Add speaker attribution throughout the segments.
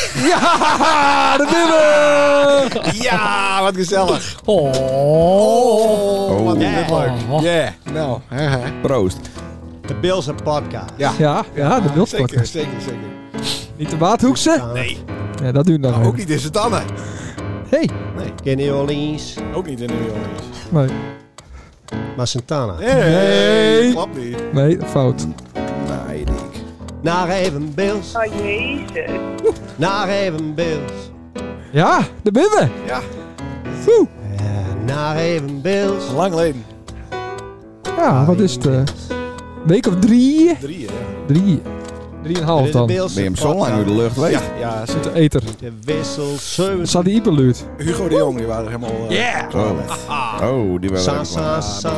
Speaker 1: Ja, de nummer!
Speaker 2: Ja, wat gezellig.
Speaker 1: Oh.
Speaker 2: Oh, wat is dit
Speaker 3: Oh.
Speaker 2: leuk. Ja, nou. hè, hè.
Speaker 1: Proost.
Speaker 3: De Bilse podcast.
Speaker 2: Ja,
Speaker 1: Ja, ja, de
Speaker 2: zeker,
Speaker 1: wildpot.
Speaker 2: zeker, zeker.
Speaker 1: Niet de Waadhoekse?
Speaker 2: Nee,
Speaker 1: Ja, dat doen we dan
Speaker 2: nou, ook
Speaker 1: ook.
Speaker 2: niet in z'n tanden.
Speaker 1: Hey,
Speaker 2: Nee,
Speaker 3: In New Orleans,
Speaker 2: ook niet in New Orleans.
Speaker 1: nee,
Speaker 3: maar Santana.
Speaker 2: Nee,
Speaker 1: Nee.
Speaker 2: klopt niet.
Speaker 1: nee, fout.
Speaker 2: Nee, Dick.
Speaker 3: Naar even Bills,
Speaker 4: Oh jezus.
Speaker 3: naar even Bills.
Speaker 1: Ja, daar ben we.
Speaker 2: Ja,
Speaker 1: Woe.
Speaker 3: Ja, Eh, naar even Bills.
Speaker 2: lang geleden.
Speaker 5: Ah,
Speaker 1: Ja, wat is het? eh, week of drie?
Speaker 2: Drie, ja.
Speaker 1: Drie. Drieënhalf
Speaker 3: Dit is de
Speaker 1: dan.
Speaker 3: Bilse
Speaker 5: Ben je hem zo lang door de
Speaker 3: podcast.
Speaker 5: lucht weet?
Speaker 2: Ja, ja zit-
Speaker 1: De eter.
Speaker 3: De wissel 7.
Speaker 1: Zat die hyperluut?
Speaker 2: Hugo de Jong, die waren er helemaal... eh, Ja!
Speaker 5: Oh. oh, die waren
Speaker 3: Sa,
Speaker 5: leuk, man.
Speaker 3: sa, sa.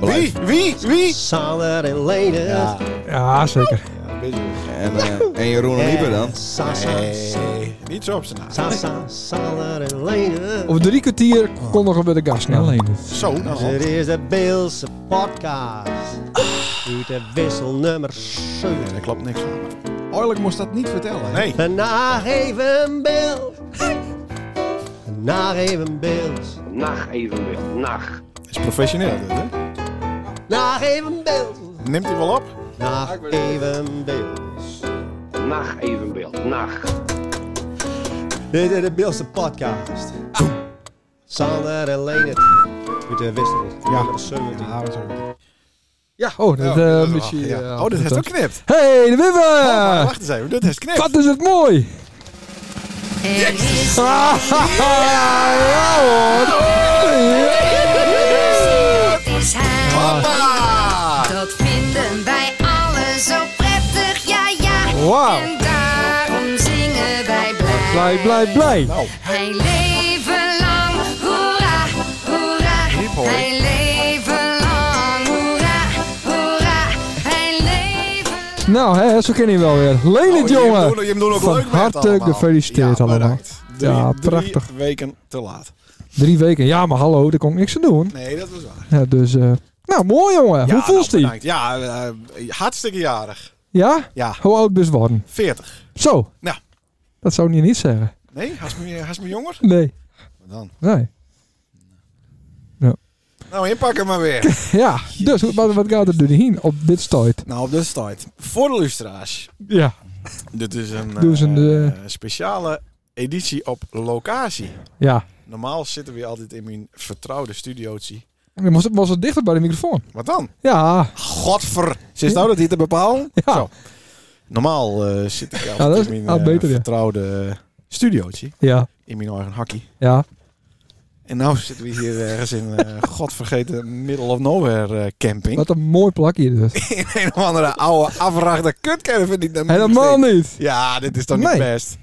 Speaker 5: Blijf.
Speaker 2: Wie? Wie? Wie?
Speaker 3: Sander en Lene.
Speaker 2: Ja,
Speaker 1: Ja, zeker.
Speaker 2: ja, bezig.
Speaker 5: En, eh, en Jeroen en Ieper dan?
Speaker 3: Sa, sa,
Speaker 2: Nee, niet zo op z'n naam.
Speaker 3: sa, sa, Sander en Lene.
Speaker 1: Op drie kwartier
Speaker 2: Oh.
Speaker 1: kondigen we de gast snel heen.
Speaker 2: Zo, nou. Ah.
Speaker 3: Dit Dus is de Bilse podcast. Uit de wissel nummer 7.
Speaker 2: Nee, daar klopt niks van.
Speaker 5: Oorlijk moest dat niet vertellen.
Speaker 2: Nee.
Speaker 3: Naar even Bills. Naar even Bills.
Speaker 6: Nacht even weer. Nacht.
Speaker 2: Is professioneel dit, hè?
Speaker 3: Naar even Bills.
Speaker 2: Neemt hij wel op?
Speaker 3: Naar even Bills.
Speaker 6: Nacht even weer. Nacht.
Speaker 3: Dit is de Bilse podcast. Sander en Leendert. Met de wissel. Ja. 17.
Speaker 2: Ja, dat is ook.
Speaker 1: Ja, oh, dat
Speaker 2: Ja,
Speaker 1: eh
Speaker 2: wel.
Speaker 1: misschien...
Speaker 2: Ja.
Speaker 1: eh,
Speaker 2: Oh, dit heeft ook knipt.
Speaker 1: Hey, de
Speaker 2: Oh,
Speaker 1: Wibbe!
Speaker 2: wacht eens even, dit heeft knipt.
Speaker 1: Wat is het mooi! Ah, ja hoor!
Speaker 7: is hij.
Speaker 2: Hoppa!
Speaker 7: Dat vinden wij allen zo prettig, ja ja.
Speaker 1: Wauw.
Speaker 7: En daarom zingen wij blij.
Speaker 1: Blij, blij, blij!
Speaker 2: Nou,
Speaker 7: Hij leven lang, hoera, hoera.
Speaker 2: Hiep, hoi.
Speaker 7: Hij leven lang, hoera, hoera. Hij leven
Speaker 1: Nou, hè, zo ken je hem wel weer. Leen
Speaker 2: oh,
Speaker 1: het,
Speaker 2: je hem
Speaker 1: jongen!
Speaker 2: doen- Je hem doen ook
Speaker 1: Van
Speaker 2: leuk met
Speaker 1: harte
Speaker 2: allemaal.
Speaker 1: gefeliciteerd
Speaker 2: ja,
Speaker 1: allemaal.
Speaker 2: bedankt. Drie,
Speaker 1: Ja,
Speaker 2: drie
Speaker 1: prachtig.
Speaker 2: weken te laat.
Speaker 1: Drie weken. Ja, maar hallo, daar kon ik niks aan doen.
Speaker 2: Nee, dat was waar.
Speaker 1: Ja, dus, eh, nou, mooi jongen.
Speaker 2: Ja,
Speaker 1: Hoe voelt
Speaker 2: nou,
Speaker 1: hij?
Speaker 2: bedankt. Ja, eh, eh, hartstikke jarig.
Speaker 1: Ja?
Speaker 2: Ja,
Speaker 1: Hoe oud ben je geworden?
Speaker 2: 40.
Speaker 1: Zo.
Speaker 2: Nou.
Speaker 1: Dat zou hij niet zeggen.
Speaker 2: Nee, hij is me- hij is me jonger.
Speaker 1: Nee.
Speaker 2: Wat Dan.
Speaker 1: Nee.
Speaker 2: Nou, inpakken maar weer.
Speaker 1: Ja, dus hoe- wat, wat gaat er door die heen op dit stoit?
Speaker 2: nou, op de start. Voor de lustra's.
Speaker 1: Ja.
Speaker 2: Dit is een
Speaker 1: Doe eens een,
Speaker 2: eh, speciale editie op locatie.
Speaker 1: Ja.
Speaker 2: Normaal zitten we altijd in mijn vertrouwde studiootje.
Speaker 1: En dan moest het, was het dichter bij de microfoon.
Speaker 2: Wat dan?
Speaker 1: Ja.
Speaker 2: Godver. Zit nou dat hier te bepalen?
Speaker 1: Ja.
Speaker 2: Zo. Normaal eh, zit ik
Speaker 1: dat
Speaker 2: altijd
Speaker 1: is
Speaker 2: in mijn
Speaker 1: al
Speaker 2: eh,
Speaker 1: beter, ja.
Speaker 2: vertrouwde eh, studiootje.
Speaker 1: Ja.
Speaker 2: In mijn eigen hakkie.
Speaker 1: Ja.
Speaker 2: En nou zitten we hier ergens in eh godvergeten middle of nowhere eh, camping.
Speaker 1: Wat een mooi plakje dus.
Speaker 2: In een of andere oude afrachte kutcaravan die dan
Speaker 1: Helemaal niet.
Speaker 2: Ja, dit is toch niet
Speaker 1: Nee.
Speaker 2: best.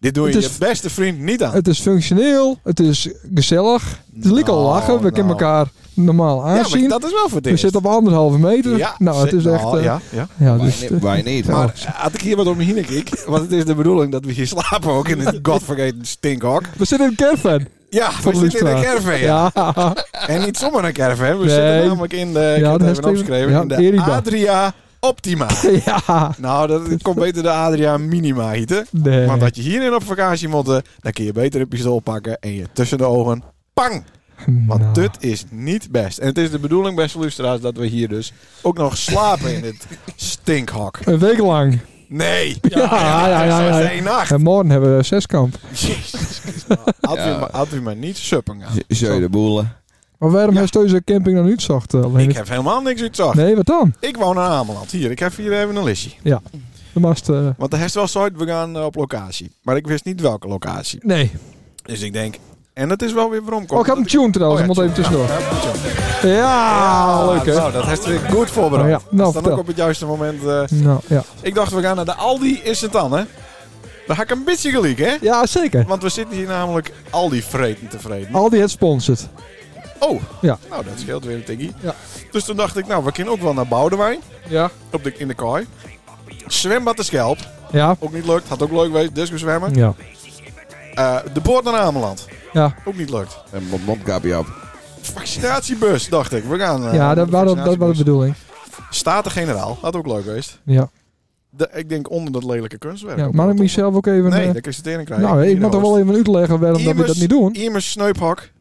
Speaker 2: Dit doe je
Speaker 1: Het is-
Speaker 2: je beste vriend niet aan.
Speaker 1: Het is functioneel. Het is gezellig. Het is lekker
Speaker 2: Nou,
Speaker 1: lachen. We
Speaker 2: nou.
Speaker 1: kunnen elkaar normaal
Speaker 2: ja, maar
Speaker 1: aanzien.
Speaker 2: dat is wel voor dit.
Speaker 1: we zitten op anderhalve meter.
Speaker 2: Ja,
Speaker 1: nou, het
Speaker 2: zit-
Speaker 1: is echt... eh, ja.
Speaker 2: ja, ja.
Speaker 5: Wij,
Speaker 1: dus,
Speaker 5: ni-
Speaker 1: eh,
Speaker 5: wij niet.
Speaker 1: Maar-
Speaker 5: Maar,
Speaker 2: Maar had ik hier wat om me heen keek, want het is de bedoeling dat we hier slapen ook in het godvergeten stinkhok.
Speaker 1: we zitten in een caravan.
Speaker 2: Ja,
Speaker 1: Voor
Speaker 2: we
Speaker 1: de
Speaker 2: zitten in een
Speaker 1: luisteraar.
Speaker 2: caravan. Ja.
Speaker 1: Ja.
Speaker 2: En niet zomaar een caravan, we
Speaker 1: Nee.
Speaker 2: zitten namelijk in de, ik
Speaker 1: Ja,
Speaker 2: heb
Speaker 1: dat
Speaker 2: het
Speaker 1: is
Speaker 2: even opgeschreven,
Speaker 1: ja,
Speaker 2: in de
Speaker 1: Erida.
Speaker 2: Adria Optima.
Speaker 1: ja.
Speaker 2: Nou, dat dat komt beter de Adria Minima heten.
Speaker 1: Nee.
Speaker 2: Want dat je hierin op vakantie moet, eh, dan kun je beter een pistool pakken en je tussen de ogen, pang! Want
Speaker 1: Nou.
Speaker 2: dit is niet best. En het is de bedoeling, beste luisteraars, dat we hier dus ook nog slapen in dit stinkhok.
Speaker 1: Een week lang.
Speaker 2: Nee!
Speaker 1: Ja, ja, ja, ja,
Speaker 2: Dat is
Speaker 1: ja.
Speaker 2: één nacht.
Speaker 1: En morgen hebben we zeskamp.
Speaker 2: Jezus Christus, nou, Had, u
Speaker 5: Ja.
Speaker 2: maar, had u maar niet suppen gaan.
Speaker 5: Zeu de boelen.
Speaker 1: Maar waarom heeft deze camping dan uitzocht? eh, Leendert?
Speaker 2: Ik heb helemaal niks uitzag.
Speaker 1: Nee, wat dan?
Speaker 2: Ik woon in Ameland. Hier, ik heb hier even een listje.
Speaker 1: De mast... eh,
Speaker 2: Want de herst was ooit, we gaan eh, op locatie. Maar ik wist niet welke locatie.
Speaker 1: nee.
Speaker 2: Dus ik denk, en dat is wel weer waarom
Speaker 1: Oh, ik
Speaker 2: komt.
Speaker 1: heb een tune trouwens.
Speaker 2: Oh,
Speaker 1: Ik
Speaker 2: ja,
Speaker 1: moet even tussendoor.
Speaker 2: Ja, goed zo.
Speaker 1: Ja, leuk hè.
Speaker 2: Nou, dat heeft weer goed voorbereid.
Speaker 1: Oh, ja. Nou,
Speaker 2: dat is dan
Speaker 1: vertel.
Speaker 2: ook op het juiste moment. eh,
Speaker 1: Nou, ja.
Speaker 2: ik dacht, we gaan naar de Aldi in sint hè? Daar ga ik een beetje gelijk, hè?
Speaker 1: Ja, zeker.
Speaker 2: Want we zitten hier namelijk Aldi vreten tevreden.
Speaker 1: Aldi het sponsort.
Speaker 2: Oh,
Speaker 1: Ja.
Speaker 2: nou dat scheelt weer een tikkie.
Speaker 1: Ja.
Speaker 2: Dus toen dacht ik, nou, we kunnen ook wel naar Boudewijn.
Speaker 1: Ja.
Speaker 2: Op de, in de kooi. Zwembad de Schelp.
Speaker 1: Ja.
Speaker 2: Ook niet lukt. Had ook leuk geweest. Disco zwemmen.
Speaker 1: Ja.
Speaker 2: Eh, de boord naar Ameland.
Speaker 1: Ja.
Speaker 2: Ook niet lukt.
Speaker 5: Een mond- mondkapje op.
Speaker 2: Vaccinatiebus, dacht ik. We gaan. eh,
Speaker 1: Ja,
Speaker 2: naar
Speaker 1: dat,
Speaker 2: de
Speaker 1: was dat was de
Speaker 2: vaccinatiebus.
Speaker 1: bedoeling.
Speaker 2: Staten-generaal. Had ook leuk geweest.
Speaker 1: Ja.
Speaker 2: de- ik denk onder dat lelijke kunstwerk.
Speaker 1: Ja, maar ik mezelf ook even...
Speaker 2: nee,
Speaker 1: eh,
Speaker 2: daar kun je het in krijgen.
Speaker 1: nou, ik moet er wel even uitleggen waarom dat we dat
Speaker 2: Immers-
Speaker 1: niet doen.
Speaker 2: Immers sneuphak.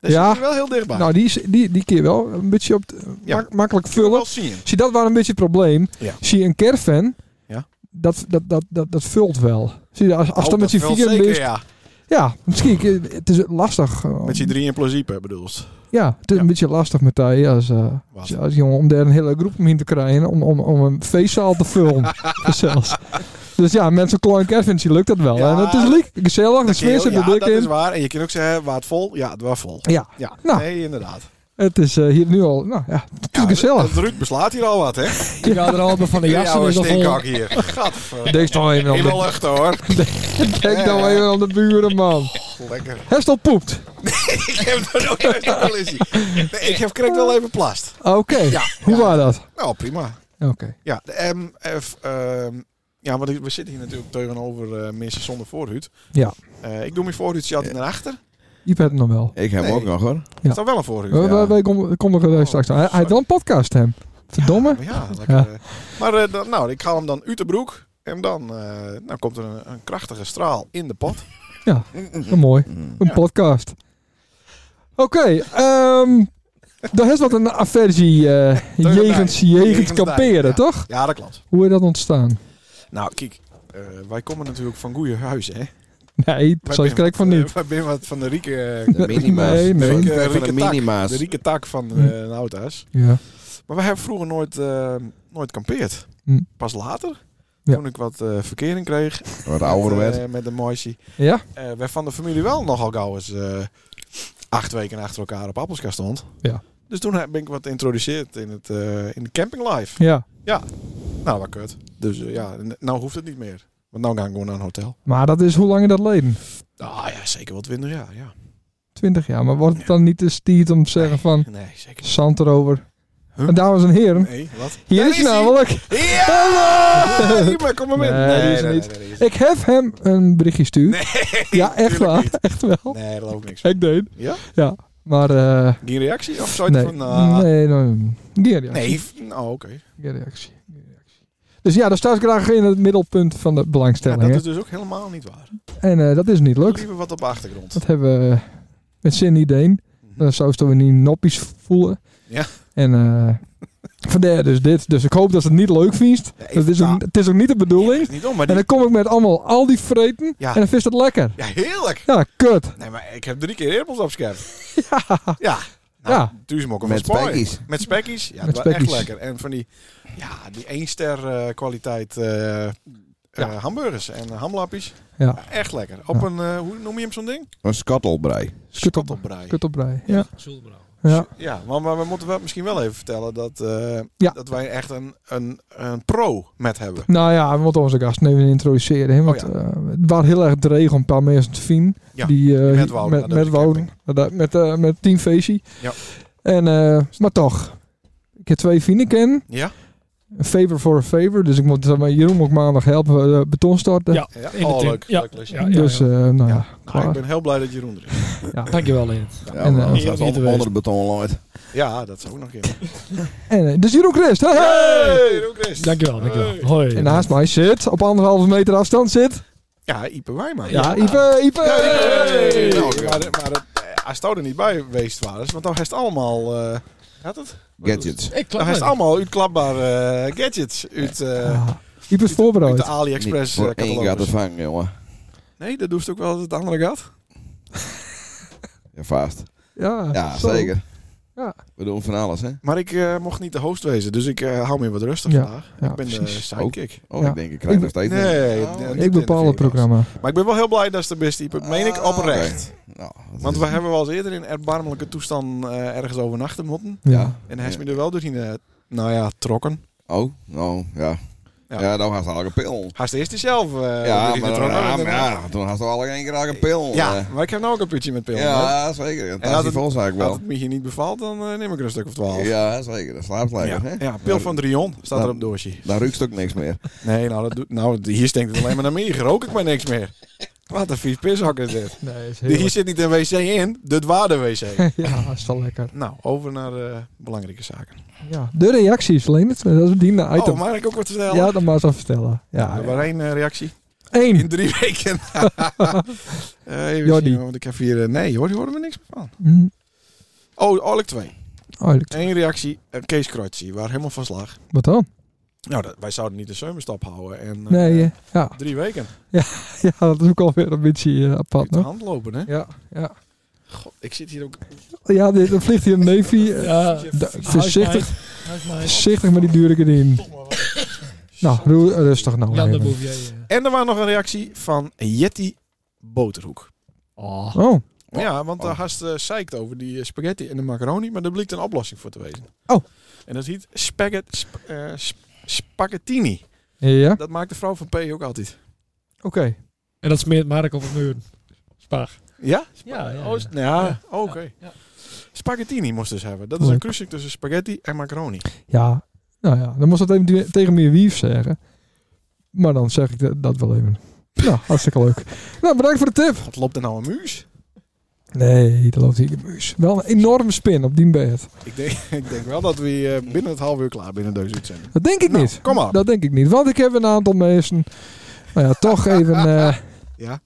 Speaker 2: Daar
Speaker 1: Ja.
Speaker 2: zit je Dus wel heel dichtbij.
Speaker 1: Nou, die, is- die, die keer wel een beetje op het-
Speaker 2: Ja.
Speaker 1: mak- makkelijk
Speaker 2: Kun je
Speaker 1: vullen.
Speaker 2: wel zien.
Speaker 1: Zie, dat was een beetje het probleem.
Speaker 2: Ja.
Speaker 1: Zie, een caravan,
Speaker 2: Ja.
Speaker 1: dat, dat, dat, dat, dat vult wel. Zie, als, als
Speaker 2: Oh,
Speaker 1: dat met z'n
Speaker 2: wel
Speaker 1: vieren
Speaker 2: zeker,
Speaker 1: is...
Speaker 2: ja.
Speaker 1: Ja, misschien. eh, Het is lastig. eh,
Speaker 2: Met z'n drieën in principe bedoeld.
Speaker 1: Ja, het is
Speaker 2: Ja.
Speaker 1: een beetje lastig, Matthijs, als, eh,
Speaker 2: Wat?
Speaker 1: als, als jongen, om daar een hele groep omheen te krijgen. Om, om, om een feestzaal te vullen. zelfs. Dus ja, mensen klein caravans, die lukt dat wel.
Speaker 2: Ja,
Speaker 1: en het is leuk, gezellig, de sfeer zit
Speaker 2: ja,
Speaker 1: er dik
Speaker 2: dat is
Speaker 1: in.
Speaker 2: waar. En je kunt ook zeggen, waar het vol? Ja, het was vol.
Speaker 1: Ja,
Speaker 2: Ja,
Speaker 1: Nou.
Speaker 2: nee, inderdaad.
Speaker 1: het is eh, hier nu al, nou ja, het is
Speaker 2: Ja,
Speaker 1: gezellig.
Speaker 2: Het Ruud beslaat hier al wat, hè?
Speaker 4: Ik ga er allemaal van de
Speaker 2: Ja,
Speaker 4: jassen
Speaker 2: oude
Speaker 4: is al vol.
Speaker 2: stinkhak hier. Gadver.
Speaker 1: Denk dan even aan
Speaker 2: Helemaal
Speaker 1: de,
Speaker 2: lucht hoor.
Speaker 1: denk dan even aan de buren, man.
Speaker 2: Lekker.
Speaker 1: Hestel poept.
Speaker 2: ik heb er nog nooit een collisie. Nee, ik heb correct wel even plast.
Speaker 1: Ah, Oké, hoe was dat?
Speaker 2: Nou, prima.
Speaker 1: Oké.
Speaker 2: Ja, de MF. ehm, ja, want ik- we zitten hier natuurlijk tegenover eh mensen zonder voorhuid.
Speaker 1: Ja.
Speaker 2: Eh, ik doe mijn voorhuid chat naar achter.
Speaker 1: Je hebt het nog wel.
Speaker 5: Ik heb hem
Speaker 2: Nee.
Speaker 5: ook nog hoor.
Speaker 1: Ja.
Speaker 2: Is dat wel een voorhuid?
Speaker 1: We- we- Wij komen komen er eh, straks aan. Hij, hij had wel een podcast, hem. Verdomme.
Speaker 2: Ja, ja, lekker.
Speaker 1: Ja.
Speaker 2: eh. Maar eh, dan, nou, ik haal hem dan uit de broek. En dan eh, nou, komt er een, een krachtige straal in de pot.
Speaker 1: Nou, mooi. Een
Speaker 2: Ja.
Speaker 1: podcast. Oké, ehm daar is wat een aversie eh,
Speaker 2: Tegen de
Speaker 1: jegens,
Speaker 2: dijk.
Speaker 1: jegens
Speaker 2: Jegens de dijk,
Speaker 1: kamperen,
Speaker 2: ja.
Speaker 1: toch?
Speaker 2: Ja, dat klopt.
Speaker 1: Hoe is dat ontstaan?
Speaker 2: Nou, kijk. eh, wij komen natuurlijk van goede huizen, hè?
Speaker 1: Nee,
Speaker 2: Wij
Speaker 1: zoals
Speaker 2: ben-
Speaker 1: kijk van
Speaker 2: eh,
Speaker 1: niet.
Speaker 2: wij ben wat van de rieke... eh,
Speaker 5: De minima's.
Speaker 1: Nee,
Speaker 2: de
Speaker 1: nee.
Speaker 2: rieke,
Speaker 5: Van de
Speaker 2: rieke tak,
Speaker 5: minima's.
Speaker 2: de rieke tak van
Speaker 1: Hm.
Speaker 2: eh, een oud huis.
Speaker 1: Ja.
Speaker 2: Maar we hebben vroeger nooit, eh, nooit kampeerd.
Speaker 1: Hm.
Speaker 2: Pas later,
Speaker 1: Ja.
Speaker 2: toen ik wat eh, verkering kreeg
Speaker 5: Wat ouder
Speaker 2: met,
Speaker 5: werd.
Speaker 2: eh, met de mooisje.
Speaker 1: ja?
Speaker 2: eh wij van de familie wel nogal gauw eens eh, acht weken achter elkaar op Appelska stond.
Speaker 1: Ja.
Speaker 2: Dus toen heb- ben ik wat geïntroduceerd in, het, eh, in de campinglife.
Speaker 1: Ja.
Speaker 2: Nou, wat kut. Dus eh, ja, n- nou hoeft het niet meer. Want nou gaan we gewoon naar een hotel.
Speaker 1: Maar dat is hoe lang is dat leden?
Speaker 2: Ah ja, zeker wel twintig jaar, ja.
Speaker 1: Twintig jaar. Maar wordt het dan niet te stiert om te zeggen van...
Speaker 2: Nee, zeker niet.
Speaker 1: Zand erover.
Speaker 2: Huh?
Speaker 1: En dames en heren,
Speaker 2: Nee, wat?
Speaker 1: hier
Speaker 2: Daar
Speaker 1: is
Speaker 2: is hij!
Speaker 1: namelijk...
Speaker 2: Ja! Die maar kom maar
Speaker 1: Nee,
Speaker 2: binnen.
Speaker 1: die is er niet.
Speaker 2: Nee,
Speaker 1: Ik heb hem een berichtje stuurd. ja, echt
Speaker 2: tuurlijk
Speaker 1: waar.
Speaker 2: niet.
Speaker 1: Echt wel.
Speaker 2: nee, daar geloof ik niks van.
Speaker 1: Ik deed.
Speaker 2: Ja?
Speaker 1: Maar... eh
Speaker 2: Geen reactie? Of zou je
Speaker 1: nee.
Speaker 2: van... nou,
Speaker 1: nee, nee. Geen reactie.
Speaker 2: nee. v- Nou, oké.
Speaker 1: Geen reactie. Geen reactie. Dus ja, dat staat graag in het middelpunt van de
Speaker 2: Ja,
Speaker 1: belangstelling.
Speaker 2: dat
Speaker 1: hè.
Speaker 2: is dus ook helemaal niet waar.
Speaker 1: En eh, dat is niet leuk.
Speaker 2: Liever wat op de achtergrond. Mhm.
Speaker 1: Dat hebben we eh, met Cindy Deen. Dan zou ze we niet noppies voelen.
Speaker 2: Ja.
Speaker 1: En eh vandaar dus dit. Dus ik hoop dat ze het niet leuk vindt.
Speaker 2: Nee,
Speaker 1: Dat is ook,
Speaker 2: nou,
Speaker 1: het is ook niet de
Speaker 2: dat
Speaker 1: bedoeling.
Speaker 2: is niet om, maar
Speaker 1: En
Speaker 2: die...
Speaker 1: dan kom ik met allemaal al die vreten.
Speaker 2: Ja.
Speaker 1: En dan vindt ze het lekker.
Speaker 2: Ja, heerlijk.
Speaker 1: Ja, kut.
Speaker 2: Nee, maar ik heb drie keer eerpels op scherp. Ja.
Speaker 1: Ja.
Speaker 2: Nou, Duurzaam ook al
Speaker 5: Met
Speaker 2: van Spanje.
Speaker 5: spekkies.
Speaker 2: Met spekkies. Ja,
Speaker 1: Met
Speaker 2: dat was echt
Speaker 1: spekkies.
Speaker 2: lekker. En van die, ja, die éénster eh, kwaliteit eh, eh,
Speaker 1: Ja.
Speaker 2: hamburgers en hamlapjes.
Speaker 1: Ja.
Speaker 2: echt lekker. Op een, eh, hoe noem je hem zo'n ding?
Speaker 5: Een scottelbrei.
Speaker 1: Kut op,
Speaker 2: Schottelbraai.
Speaker 1: kut op rij. Ja.
Speaker 2: Ja,
Speaker 1: Ja.
Speaker 2: maar, maar we moeten wel misschien wel even vertellen dat, eh,
Speaker 1: Ja.
Speaker 2: dat wij echt een, een, een pro met hebben.
Speaker 1: Nou ja, we moeten onze gasten even introduceren. Hè, want
Speaker 2: Oh ja.
Speaker 1: eh, het was heel erg dreig om een paar mensen te vinden.
Speaker 2: Ja,
Speaker 1: die, eh,
Speaker 2: met Wouden,
Speaker 1: Met,
Speaker 2: naar de
Speaker 1: met, Wouden,
Speaker 2: camping.
Speaker 1: met, met, eh, met Team Feestje.
Speaker 2: Ja.
Speaker 1: En, eh, maar toch, ik heb twee vrienden kennen.
Speaker 2: Ja?
Speaker 1: Een favor voor een favor. Dus ik moet zeg maar, Jeroen ook maandag helpen eh, beton starten.
Speaker 4: Ja,
Speaker 2: Ja,
Speaker 4: in de
Speaker 2: oh,
Speaker 4: team.
Speaker 2: leuk.
Speaker 4: Ja.
Speaker 2: Leuk lesje.
Speaker 4: Ja,
Speaker 1: dus eh, nou ja,
Speaker 2: Nou, ik
Speaker 1: klaar.
Speaker 2: ben heel blij dat Jeroen er is.
Speaker 4: Dankjewel, Leonard.
Speaker 5: Ja,
Speaker 1: En,
Speaker 5: en,
Speaker 1: eh,
Speaker 5: anders
Speaker 4: hier
Speaker 5: had
Speaker 4: is niet
Speaker 5: het
Speaker 4: geweest.
Speaker 5: onder de beton looit.
Speaker 2: Ja, dat zou ook nog kunnen.
Speaker 1: En, eh, dus Jeroen Christ. hey, hey!
Speaker 2: Hey, Jeroen Christ.
Speaker 4: Dankjewel, dankjewel. Hoi.
Speaker 1: En naast mij zit, op anderhalve meter afstand zit...
Speaker 2: Ja, Ipe Wijman.
Speaker 1: Ja, Ipe, Ipe!
Speaker 2: Hey!
Speaker 5: Hey!
Speaker 2: Nou, maar, maar dat, eh, als het er niet bij geweest was, want dan heeft het allemaal, eh gaat het?
Speaker 5: Gadgets.
Speaker 4: Ik
Speaker 2: Dan
Speaker 4: klap
Speaker 2: heeft het
Speaker 4: hem.
Speaker 2: allemaal uitklapbare eh, gadgets uit, eh,
Speaker 1: Ah, Ipe is
Speaker 2: uit de
Speaker 1: voorbereid.
Speaker 5: Niet
Speaker 2: AliExpress eh,
Speaker 5: voor één gaat te
Speaker 2: catalogus.
Speaker 5: vangen, jongen.
Speaker 2: Nee, dat doet het ook wel als het andere gaat.
Speaker 5: Ja, vast.
Speaker 1: Ja,
Speaker 5: Ja,
Speaker 1: zo.
Speaker 5: zeker.
Speaker 1: Ja.
Speaker 5: We doen van alles, hè?
Speaker 2: Maar ik eh, mocht niet de host wezen, dus ik eh, hou me wat rustig
Speaker 1: Ja,
Speaker 2: vandaag.
Speaker 1: ja,
Speaker 2: ik ben de
Speaker 1: precies.
Speaker 2: sidekick.
Speaker 5: Oh,
Speaker 1: Ja.
Speaker 5: ik denk, ik krijg
Speaker 1: Ik
Speaker 5: nog steeds
Speaker 2: Nee,
Speaker 5: niks.
Speaker 2: nee,
Speaker 5: Oh,
Speaker 2: nee.
Speaker 1: Ik bepaal het programma.
Speaker 2: Maar ik ben wel heel blij dat ze de beste Ipe, meen ik oprecht.
Speaker 5: Ah, nou, dat
Speaker 2: Want
Speaker 5: is-
Speaker 2: we hebben wel eens eerder in erbarmelijke toestand eh, ergens overnachten moeten.
Speaker 1: Ja.
Speaker 2: En hij is me er wel doorheen, eh, nou ja, trokken.
Speaker 5: Oh, nou, ja.
Speaker 2: Ja.
Speaker 5: Ja, dan gaat ze al een pil.
Speaker 2: Hij is eerst zelf. eh,
Speaker 5: Ja,
Speaker 2: doorheen
Speaker 5: maar,
Speaker 2: getrokken.
Speaker 5: ja, maar ja, toen had ze al in één keer al een pil.
Speaker 2: Ja,
Speaker 5: eh.
Speaker 2: maar ik heb nou ook een putje met pillen. hoor.
Speaker 5: ja zeker. En
Speaker 2: En had
Speaker 5: dat is
Speaker 2: het-
Speaker 5: volgens eigenlijk
Speaker 2: Als
Speaker 5: wel.
Speaker 2: het me hier niet bevalt, dan eh, neem ik er een stuk of twaalf.
Speaker 5: Ja, zeker. Dat slaapt lekker, hè? Nou,
Speaker 2: ja, pil van Drion staat er op het doosje.
Speaker 5: Daar ruikt ook niks meer.
Speaker 2: Nee, nou, dat doet, nou, hier stinkt het alleen maar naar meer. Rook ik maar niks meer. Wat een vies pishok is dit.
Speaker 1: Nee, is
Speaker 2: Hier
Speaker 1: heel...
Speaker 2: zit niet een wc in, dit waar de wc.
Speaker 1: Ja, is wel lekker.
Speaker 2: nou, over naar eh, belangrijke zaken.
Speaker 1: Ja. De reacties, Leendert. Dat is een item.
Speaker 2: Oh, mag ik ook wat vertellen?
Speaker 1: ja, dan maar zo vertellen.
Speaker 2: Ja,
Speaker 1: Ja,
Speaker 2: er was één eh, reactie. In
Speaker 1: Eén.
Speaker 2: drie weken. Eh, even
Speaker 1: Jordi.
Speaker 2: zien, want ik heb hier... eh, nee hoor, die horen we niks meer van.
Speaker 1: Hm,
Speaker 2: Oh, al ik twee.
Speaker 1: Oh, leuk.
Speaker 2: Eén reactie, eh, Kees Kreutzi, waar helemaal van slag.
Speaker 1: Wat dan?
Speaker 2: Nou, dat, wij zouden niet de zomerstap houden. En, eh,
Speaker 1: Nee, eh, ja.
Speaker 2: Drie weken.
Speaker 1: ja, dat is ook alweer een beetje eh, apart,
Speaker 2: Uit de
Speaker 1: nog.
Speaker 2: hand lopen, hè?
Speaker 1: Ja, ja.
Speaker 2: God, ik zit hier ook...
Speaker 1: Ja, dit, er vliegt hier een neefie. eh,
Speaker 4: Ja,
Speaker 1: da- voorzichtig,
Speaker 4: Huismeid.
Speaker 1: voorzichtig met die dure in. Nou, roe- rustig nou.
Speaker 4: Jan de
Speaker 1: even.
Speaker 4: Bouvier. eh.
Speaker 2: En er was nog een reactie van Jetty Boterhoek.
Speaker 4: Oh.
Speaker 1: Oh,
Speaker 2: ja, want daar
Speaker 5: oh.
Speaker 2: had ze zeikt over die eh, spaghetti en de macaroni, maar daar bleek een oplossing voor te wezen.
Speaker 1: Oh.
Speaker 2: En dat heet spaghetti, sp- eh, sp- spaghettini.
Speaker 1: ja.
Speaker 2: Dat maakt de vrouw van P ook altijd.
Speaker 1: Oké.
Speaker 4: En dat smeert Mark op het muur. Spaag.
Speaker 2: Ja?
Speaker 4: Ja, ja,
Speaker 2: Oh, is- ja. oh, oké.
Speaker 4: ja.
Speaker 2: Spaghettini moest dus hebben. Dat is
Speaker 1: Leuk.
Speaker 2: een kruising tussen spaghetti en macaroni.
Speaker 1: Ja, nou ja. Dan moest dat even die- tegen meer wief zeggen. Maar dan zeg ik dat- dat wel even. Nou, hartstikke leuk. Nou, bedankt voor de tip.
Speaker 2: Wat loopt er nou een muus?
Speaker 1: Nee, dat loopt hier de muus. Wel een enorme spin op die bed.
Speaker 2: Ik denk, ik denk wel dat we eh, binnen het half uur klaar binnen deze uitzending.
Speaker 1: Dat denk ik
Speaker 2: Nou,
Speaker 1: niet.
Speaker 2: kom maar.
Speaker 1: Dat denk ik niet. Want ik heb een aantal mensen. Nou ja, toch even. eh
Speaker 2: Ja.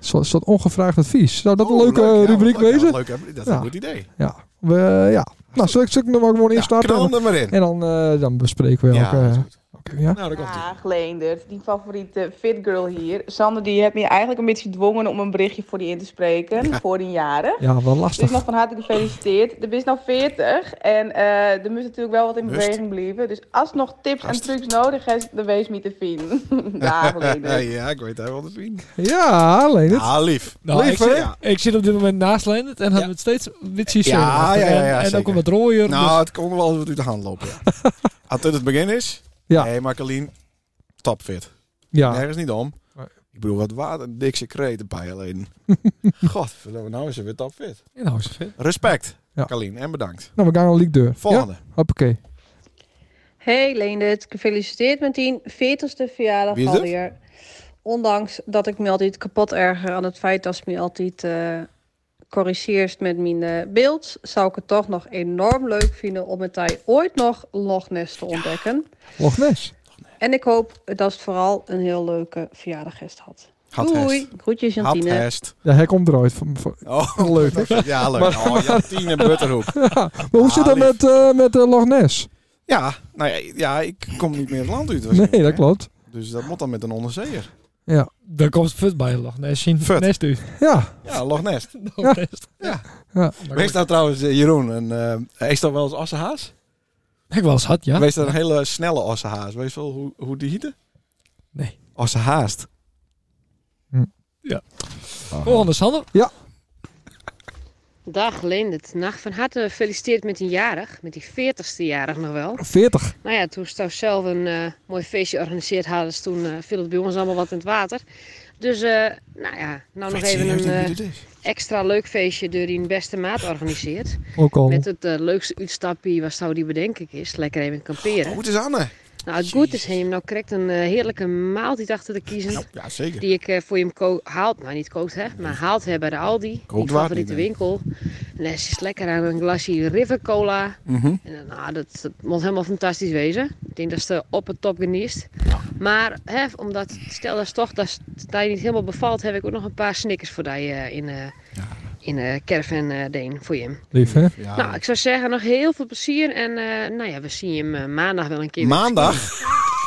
Speaker 1: zo- Soort ongevraagd advies. Zou dat
Speaker 2: Oh,
Speaker 1: een leuke
Speaker 2: leuk, ja, wat
Speaker 1: rubriek
Speaker 2: leuk, ja,
Speaker 1: wezen?
Speaker 2: wat leuk, hè? dat is
Speaker 1: Ja.
Speaker 2: een goed idee.
Speaker 1: Ja. We, ja. Nou, zal ik zullen we hem er maar gewoon in
Speaker 2: Ja,
Speaker 1: starten?
Speaker 2: knal hem er maar in.
Speaker 1: En dan, eh, dan bespreken we
Speaker 2: Ja,
Speaker 1: elke.
Speaker 2: dat is goed.
Speaker 1: oké, ja?
Speaker 2: Nou, daar komt ie.
Speaker 8: Dag Leendert, die favoriete fit girl hier. Sander die heeft me eigenlijk een beetje gedwongen om een berichtje voor die in te spreken, voor die jaren.
Speaker 1: ja, wel
Speaker 8: Dus
Speaker 1: lastig.
Speaker 8: nog van harte gefeliciteerd. Er is nou 40 en eh, er moet natuurlijk wel wat in
Speaker 2: Rust.
Speaker 8: beweging blijven. Dus als nog tips
Speaker 2: Gast.
Speaker 8: en trucs nodig is, dan wees me te vinden. Dag
Speaker 2: Ja,
Speaker 8: Leendert.
Speaker 2: ja, ik weet daar wel te zien.
Speaker 1: Ja, alleen het.
Speaker 2: Ah, lief.
Speaker 4: Nou,
Speaker 2: lief,
Speaker 4: ik,
Speaker 2: hè?
Speaker 4: zit,
Speaker 2: Ja.
Speaker 4: ik zit op dit moment naast Leendert en hebben we het steeds witsie
Speaker 2: Ja, ja, ja, ja,
Speaker 4: En, en ook
Speaker 2: zeker.
Speaker 4: een wat rooier. dus
Speaker 2: Nou, het kon wel eens wat uit de hand lopen. Ja. Als dit het begin is,
Speaker 1: Ja.
Speaker 2: nee, maar Colleen, topfit.
Speaker 1: Ja.
Speaker 2: Nergens niet om.
Speaker 1: Nee.
Speaker 2: Ik bedoel, wat water, een dikse kreet een paar jaar geleden. God, nou is ze weer topfit.
Speaker 4: dus- nou, is het fit.
Speaker 2: Respect,
Speaker 1: Ja.
Speaker 2: Colleen, en bedankt.
Speaker 1: Nou, we gaan al liekdeur. Ja?
Speaker 2: Volgende.
Speaker 1: Hoppakee.
Speaker 9: Hey Leendert, gefeliciteerd met die 40ste verjaardag
Speaker 2: Wie is het?
Speaker 9: alweer. Ondanks dat ik me altijd kapot erger aan het feit dat ze me altijd eh corrigeert met mijn eh, beeld, zou ik het toch nog enorm leuk vinden om met jij ooit nog Loch Ness te ontdekken.
Speaker 1: Loch Ness.
Speaker 9: En ik hoop dat het vooral een heel leuke verjaardag heeft gehad.
Speaker 2: Had
Speaker 9: Doei, groetjes
Speaker 2: Had
Speaker 9: Jantine.
Speaker 2: hest.
Speaker 1: Ja, hij komt eruit. Van, van-
Speaker 2: Oh,
Speaker 1: Leuk.
Speaker 2: topfit. Ja, leuk. Oh, Jantine Butterhoek.
Speaker 1: Maar hoe zit dat
Speaker 2: Ah, lief.
Speaker 1: met, eh, met eh, Loch Ness?
Speaker 2: Ja, nou ja, ja, ik kom niet meer het land uit.
Speaker 1: Nee,
Speaker 2: waarschijnlijk,
Speaker 1: dat
Speaker 2: hè?
Speaker 1: klopt.
Speaker 2: Dus dat moet dan met een onderzeeër.
Speaker 4: Dan komt het fut bij je lach. Nee, zien
Speaker 2: Fut.
Speaker 4: nest u.
Speaker 1: Ja.
Speaker 2: Ja, Loch Ness.
Speaker 1: Ja.
Speaker 2: Ja.
Speaker 1: Ja.
Speaker 2: Wees nou trouwens, eh, Jeroen, een, eh, is dat wel eens assenhaas?
Speaker 4: Ik wel eens had, ja.
Speaker 2: Wees dat een hele snelle assenhaas. Weet je wel hoe, hoe die hitte?
Speaker 4: Nee.
Speaker 2: Assenhaast.
Speaker 4: Volgende Sander.
Speaker 10: Dag Leendert, nacht van harte gefeliciteerd met een jarig, met die 40ste jarig nog wel.
Speaker 1: 40.
Speaker 10: Nou ja, toen ze zelf een eh, mooi feestje organiseerd hadden, dus toen eh, viel het bij ons allemaal wat in het water. Dus eh, nou ja, nou nog even een eh, extra leuk feestje door die een beste maat organiseert.
Speaker 1: Ook al.
Speaker 10: Met het eh, leukste uitstapje wat zou die bedenk ik is, lekker even kamperen.
Speaker 2: Hoe het is Anne?
Speaker 10: nou het goed is hem, nou krijgt een eh, heerlijke maaltijd achter te kiezen.
Speaker 2: Nou, ja, zeker.
Speaker 10: Die ik eh, voor je hem ko- haalt, nou niet kookt hè, maar haalt hè bij de Aldi.
Speaker 2: Kookt
Speaker 10: mijn
Speaker 2: waar
Speaker 10: favoriete
Speaker 2: niet, nee.
Speaker 10: winkel. En dan is het lekker aan een glasje River Cola.
Speaker 2: Mhm.
Speaker 10: En dan, nou, dat, dat moet helemaal fantastisch wezen. Ik denk dat ze op het top geniest. Maar hè, omdat, stel dat ze toch dat, het je niet helemaal bevalt, heb ik ook nog een paar snickers voor die eh, in, eh in eh caravan eh, deen voor je hem.
Speaker 1: Lief, hè?
Speaker 2: Ja.
Speaker 10: Nou, ik zou zeggen, nog heel veel plezier. En eh, nou ja, we zien hem eh, maandag wel een keer. weer.
Speaker 2: Maandag.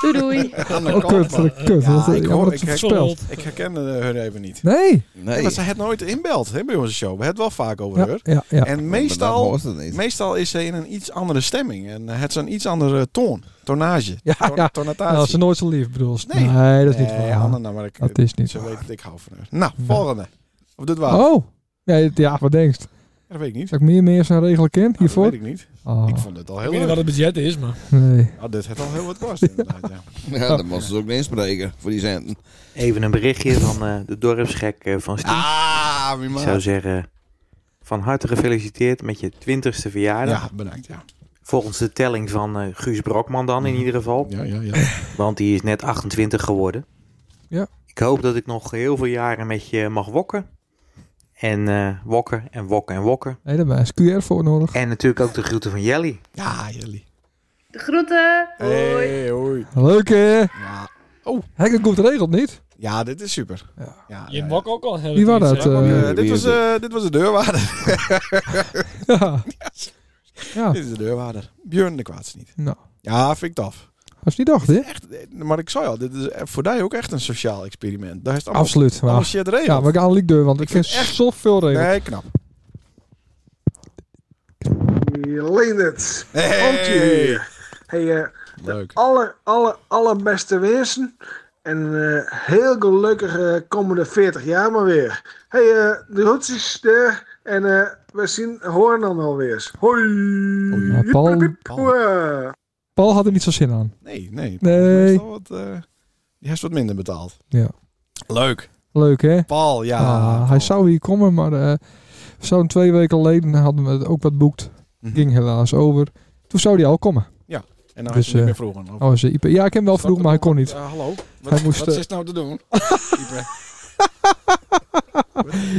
Speaker 10: Doei doei.
Speaker 2: Anne
Speaker 1: Oh, kut.
Speaker 2: Koopman.
Speaker 1: Wat een kut. eh,
Speaker 2: Ja,
Speaker 1: Wat een-
Speaker 2: ik
Speaker 1: ja,
Speaker 2: hoor-
Speaker 1: wat
Speaker 2: ik
Speaker 1: een
Speaker 2: heb-
Speaker 1: spel.
Speaker 2: Ik herkende hun even niet.
Speaker 1: Nee.
Speaker 5: Nee.
Speaker 2: Want ze het nooit inbelt hè, bij onze show. We hebben het wel vaak over
Speaker 1: Ja,
Speaker 2: haar.
Speaker 1: ja, ja.
Speaker 2: En
Speaker 5: Maar
Speaker 2: meestal...
Speaker 5: Dat hoort het niet.
Speaker 2: Meestal is ze in een iets andere stemming en eh, het is een iets andere toon, tonage,
Speaker 1: Ja,
Speaker 2: ton-
Speaker 1: ja.
Speaker 2: tonatatie.
Speaker 1: Nou, ze nooit zo lief bedoel.
Speaker 2: Nee.
Speaker 1: Nee. dat is niet
Speaker 2: Nee,
Speaker 1: waar.
Speaker 2: Anne, nou, maar ik,
Speaker 1: Dat is niet
Speaker 2: ze
Speaker 1: waar.
Speaker 2: weet dat ik hou van haar. Nou, volgende. Of dit waar?
Speaker 1: Oh. Nee, ja, wat denkst?
Speaker 2: Dat weet ik niet.
Speaker 1: Zou ik meer meer zijn regelen kind
Speaker 2: Nou, dat
Speaker 1: hiervoor?
Speaker 2: weet ik niet.
Speaker 1: Oh,
Speaker 2: Ik vond het al
Speaker 4: Ik
Speaker 2: heel
Speaker 4: weet niet
Speaker 2: leuk.
Speaker 4: wat het budget is, maar...
Speaker 1: nee.
Speaker 2: Ah, dit heeft al heel wat kost inderdaad, ja.
Speaker 5: Ja, dat moesten ze ook niet inspreken voor die centen.
Speaker 11: Oh. Even een berichtje van eh, de dorpsgek eh, van Stien.
Speaker 2: Ah, wie
Speaker 11: Ik
Speaker 2: maar.
Speaker 11: zou zeggen, van harte gefeliciteerd met je twintigste verjaardag.
Speaker 2: Ja, bedankt, ja. Mhm.
Speaker 11: Volgens de telling van eh, Guus Brokman dan in ieder geval.
Speaker 2: Ja, ja, ja.
Speaker 11: Want die is net 28 geworden.
Speaker 1: Ja.
Speaker 11: Ik hoop dat ik nog heel veel jaren met je mag wokken. En eh, wokken en wokken en wokken.
Speaker 1: Nee, daar is QR voor nodig.
Speaker 11: En natuurlijk ook de groeten van Jelly.
Speaker 2: Ja, Jelly.
Speaker 9: De groeten.
Speaker 2: Hey, hoi.
Speaker 1: Leuk hè? Oh. Hek, komt regelt niet.
Speaker 2: Ja, dit is super. Ja. Ja,
Speaker 4: Je mag ook al heel
Speaker 1: Wie was dat? eh?
Speaker 2: Eh, dit, was, eh, dit was de deurwaarder.
Speaker 1: ja. ja.
Speaker 2: Dit is de deurwaarder. Björn de kwaadste niet.
Speaker 1: Nou,
Speaker 2: Ja, vind ik tof.
Speaker 1: als die dacht hè?
Speaker 2: Echt, eh, maar ik zei al, dit is voor jou ook echt een sociaal experiment. Daar is het allemaal,
Speaker 1: Absoluut.
Speaker 2: allemaal
Speaker 1: Maar.
Speaker 2: shit regeld.
Speaker 1: Ja, we gaan Liek deur, want ik
Speaker 2: vind
Speaker 1: vind
Speaker 2: echt-
Speaker 1: zoveel regels.
Speaker 2: Nee, knap.
Speaker 12: Leendert.
Speaker 2: Hey.
Speaker 12: Komt ie. Hey, eh,
Speaker 2: Leuk.
Speaker 12: alle, alle, allerbeste wensen. En eh, heel gelukkig eh, komende 40 jaar maar weer. Hey, eh, de hoed is er. En eh, we zien, horen dan alweer. Hoi.
Speaker 1: Maar Paul,
Speaker 12: Hoera.
Speaker 1: Paul had er niet zo zin aan.
Speaker 2: Nee, nee.
Speaker 1: Nee.
Speaker 2: Meestal Wat, eh, die heeft wat minder betaald.
Speaker 1: Ja.
Speaker 2: Leuk.
Speaker 1: Leuk hè?
Speaker 2: Paul, ja.
Speaker 1: Ah, hij zou hier komen, maar eh, we zouden twee weken geleden hadden we het ook wat boekt. Ging helaas over. Toen zou hij al komen.
Speaker 2: Mhm. En dan
Speaker 1: Dus,
Speaker 2: is hij niet
Speaker 1: eh,
Speaker 2: meer vroegen. of-
Speaker 1: Oh, is hij IP? Ja, ik heb hem wel vroeg, maar hij kon niet.
Speaker 2: Eh, hallo? Wat,
Speaker 1: Hij moest,
Speaker 2: wat
Speaker 1: eh,
Speaker 2: is nou te doen?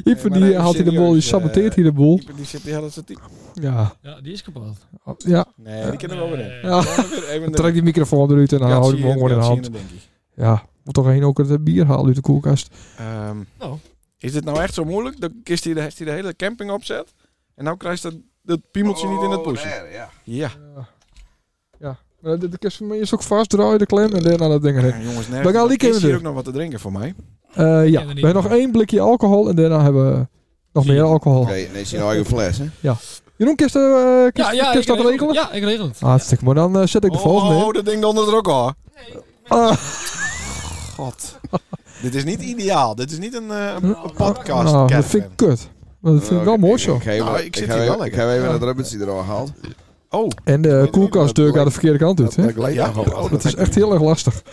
Speaker 1: Ipe
Speaker 2: maar
Speaker 1: die
Speaker 2: even
Speaker 1: haalt hier de
Speaker 2: serieus,
Speaker 1: boel, die
Speaker 2: eh,
Speaker 1: saboteert hier de boel.
Speaker 2: Ieper, die zit die hadden ze die...
Speaker 1: Ja,
Speaker 4: Ja, die is kapot.
Speaker 1: Oh, ja.
Speaker 2: Nee, die kennen we wel weer
Speaker 1: Ja.
Speaker 2: in. Ja, weer even
Speaker 1: Dan
Speaker 2: de-
Speaker 1: trekt die microfoon eruit en dan
Speaker 2: Ja,
Speaker 1: houdt
Speaker 2: zie
Speaker 1: hij
Speaker 2: je,
Speaker 1: hem gewoon in de
Speaker 2: ja, zie je
Speaker 1: hand.
Speaker 2: hem, denk ik.
Speaker 1: Ja, moet toch heen ook het eh, bier halen uit de koelkast.
Speaker 2: Ehm,
Speaker 1: Oh.
Speaker 4: Nou.
Speaker 2: Is dit nou echt zo moeilijk? Dan is die, de- heeft hij de hele camping opzet. En nou krijgt dat, dat piemeltje niet in het poesje.
Speaker 5: Oh, ja.
Speaker 2: Ja.
Speaker 1: Eh, De, de kast van mij is ook vast, draai de klem en dan aan dat ding erin.
Speaker 2: Ja, jongens,
Speaker 1: We gaan
Speaker 2: nergens.
Speaker 1: die
Speaker 2: Er
Speaker 1: keer
Speaker 2: is hier
Speaker 1: weer
Speaker 2: ook nog wat te drinken voor mij.
Speaker 1: Eh, ja,
Speaker 4: Kennen
Speaker 1: we
Speaker 4: we
Speaker 1: hebben nog
Speaker 4: niet.
Speaker 1: één blikje alcohol en daarna hebben we nog meer alcohol.
Speaker 5: Nee, nee, is je eigen fles, hè?
Speaker 1: Jeroen, kist, eh, kist-
Speaker 4: Ja, ja,
Speaker 1: kist
Speaker 4: ik
Speaker 1: dat
Speaker 4: regel-
Speaker 1: regelen?
Speaker 4: Ja, ik regel het.
Speaker 1: Hartstikke mooi. Dan eh, zet ik de volgende in.
Speaker 2: oh, dat ding dondert er ook al.
Speaker 1: Ah,
Speaker 2: God. dit is niet ideaal. Dit is niet een, eh, een-
Speaker 5: Oh.
Speaker 2: een podcast.
Speaker 1: nou, dat
Speaker 2: caravan.
Speaker 1: vind ik kut. Maar dat vind ik wel mooi zo.
Speaker 5: Ik, geef
Speaker 2: Nou,
Speaker 5: wel-
Speaker 2: ik zit
Speaker 5: geef
Speaker 2: hier
Speaker 5: wel-
Speaker 2: wel
Speaker 5: Ik
Speaker 2: lekker.
Speaker 5: heb even dat rubbertje er al gehaald.
Speaker 2: Oh,
Speaker 1: En de koelkastdeur gaat de verkeerde kant uit. Hè?
Speaker 5: Dat leek
Speaker 2: Ja?
Speaker 5: nogal wat.
Speaker 1: Dat is echt heel erg lastig. De
Speaker 2: ja,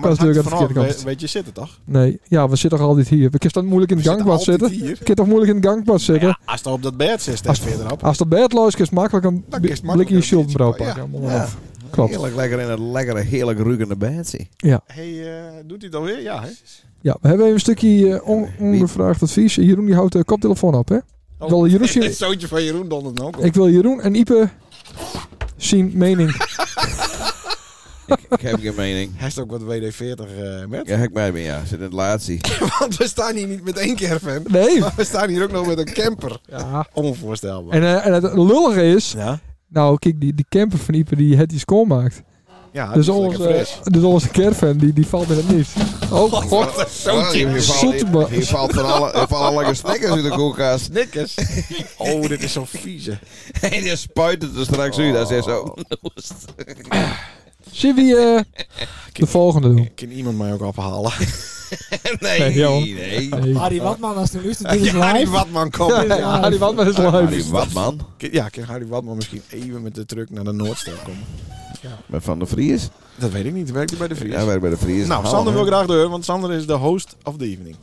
Speaker 2: maar het
Speaker 1: koelkastdeur
Speaker 2: hangt
Speaker 1: gaat de
Speaker 2: vanaf.
Speaker 1: verkeerde kant
Speaker 2: Weet,
Speaker 1: uit.
Speaker 2: weet je zitten toch?
Speaker 1: Nee, ja, we zitten toch altijd hier. Ik kan toch moeilijk in het
Speaker 2: We zitten
Speaker 1: gangbad
Speaker 2: altijd
Speaker 1: zitten?
Speaker 2: hier. Nou
Speaker 1: Ik kan toch moeilijk in het gangbad zitten?
Speaker 2: Ja, als het op dat bed zit, steeds Nou,
Speaker 1: Als-
Speaker 2: verderop.
Speaker 1: Als dat bed los is, is, makkelijk een
Speaker 2: Dan
Speaker 1: bi-
Speaker 2: is het makkelijk
Speaker 1: blikje
Speaker 2: een
Speaker 1: schildbrouw
Speaker 2: biertje
Speaker 1: pakken.
Speaker 5: pakken. Ja.
Speaker 1: Ja. Klopt.
Speaker 5: Heerlijk lekker in het lekkere, heerlijk ruikende bedje.
Speaker 2: Hey, eh, doet hij dat weer? Ja, hè?
Speaker 1: Ja, we hebben even een stukje eh, on- ongevraagd advies. Jeroen die houdt de koptelefoon op, hè?
Speaker 2: Oh.
Speaker 1: Wel, Jeroen,
Speaker 2: Het zoontje van Jeroen dondert ook op.
Speaker 1: ik wil Jeroen en Ipe zien mening.
Speaker 5: Ik, ik heb geen mening.
Speaker 2: Hij heeft ook wat WD-40 eh, met.
Speaker 5: Ja, ik bij me, ja. Zit in het laatste.
Speaker 2: Want we staan hier niet met één caravan.
Speaker 1: Nee.
Speaker 2: Maar we staan hier ook nog met een camper.
Speaker 1: Ja.
Speaker 2: Onvoorstelbaar.
Speaker 1: En, eh, en het lullige is,
Speaker 2: ja?
Speaker 1: nou kijk, die, die camper van Ipe die het die schoonmaakt.
Speaker 2: Ja,
Speaker 1: Dus
Speaker 2: dat is
Speaker 1: onze,
Speaker 2: lekker fris.
Speaker 1: dus onze caravan, die, die valt in het niet. Oh god.
Speaker 5: Oh, hier, valt,
Speaker 1: Zoetema-
Speaker 5: hier, hier valt van alle, er vallen lekker snickers in de koelkast.
Speaker 2: Snickers. Oh, dit is zo'n vieze.
Speaker 5: En je spuit het er straks uit. Dat is zo.
Speaker 2: Oh.
Speaker 1: Zullen we eh, de volgende doen?
Speaker 2: Kan iemand mij ook ophalen?
Speaker 5: Nee,
Speaker 1: Nee, joh.
Speaker 5: nee.
Speaker 4: Harry Watman, als de luistert, dit
Speaker 2: Ja, Harry Watman
Speaker 1: Ja,
Speaker 2: komen. Ja,
Speaker 1: die wand met is
Speaker 5: Maar
Speaker 1: live.
Speaker 5: die wat, man?
Speaker 2: Kan- ja, kan Harry Watman misschien even met de truck naar de Noordstad komen?
Speaker 5: Met Van de Vries?
Speaker 2: Dat weet ik niet. Werkt hij bij de Vries?
Speaker 5: Ja, wij bij de Vries.
Speaker 2: nou,
Speaker 5: Hallo,
Speaker 2: Sander wil
Speaker 5: hè.
Speaker 2: graag de deur, want Sander is de host of the evening.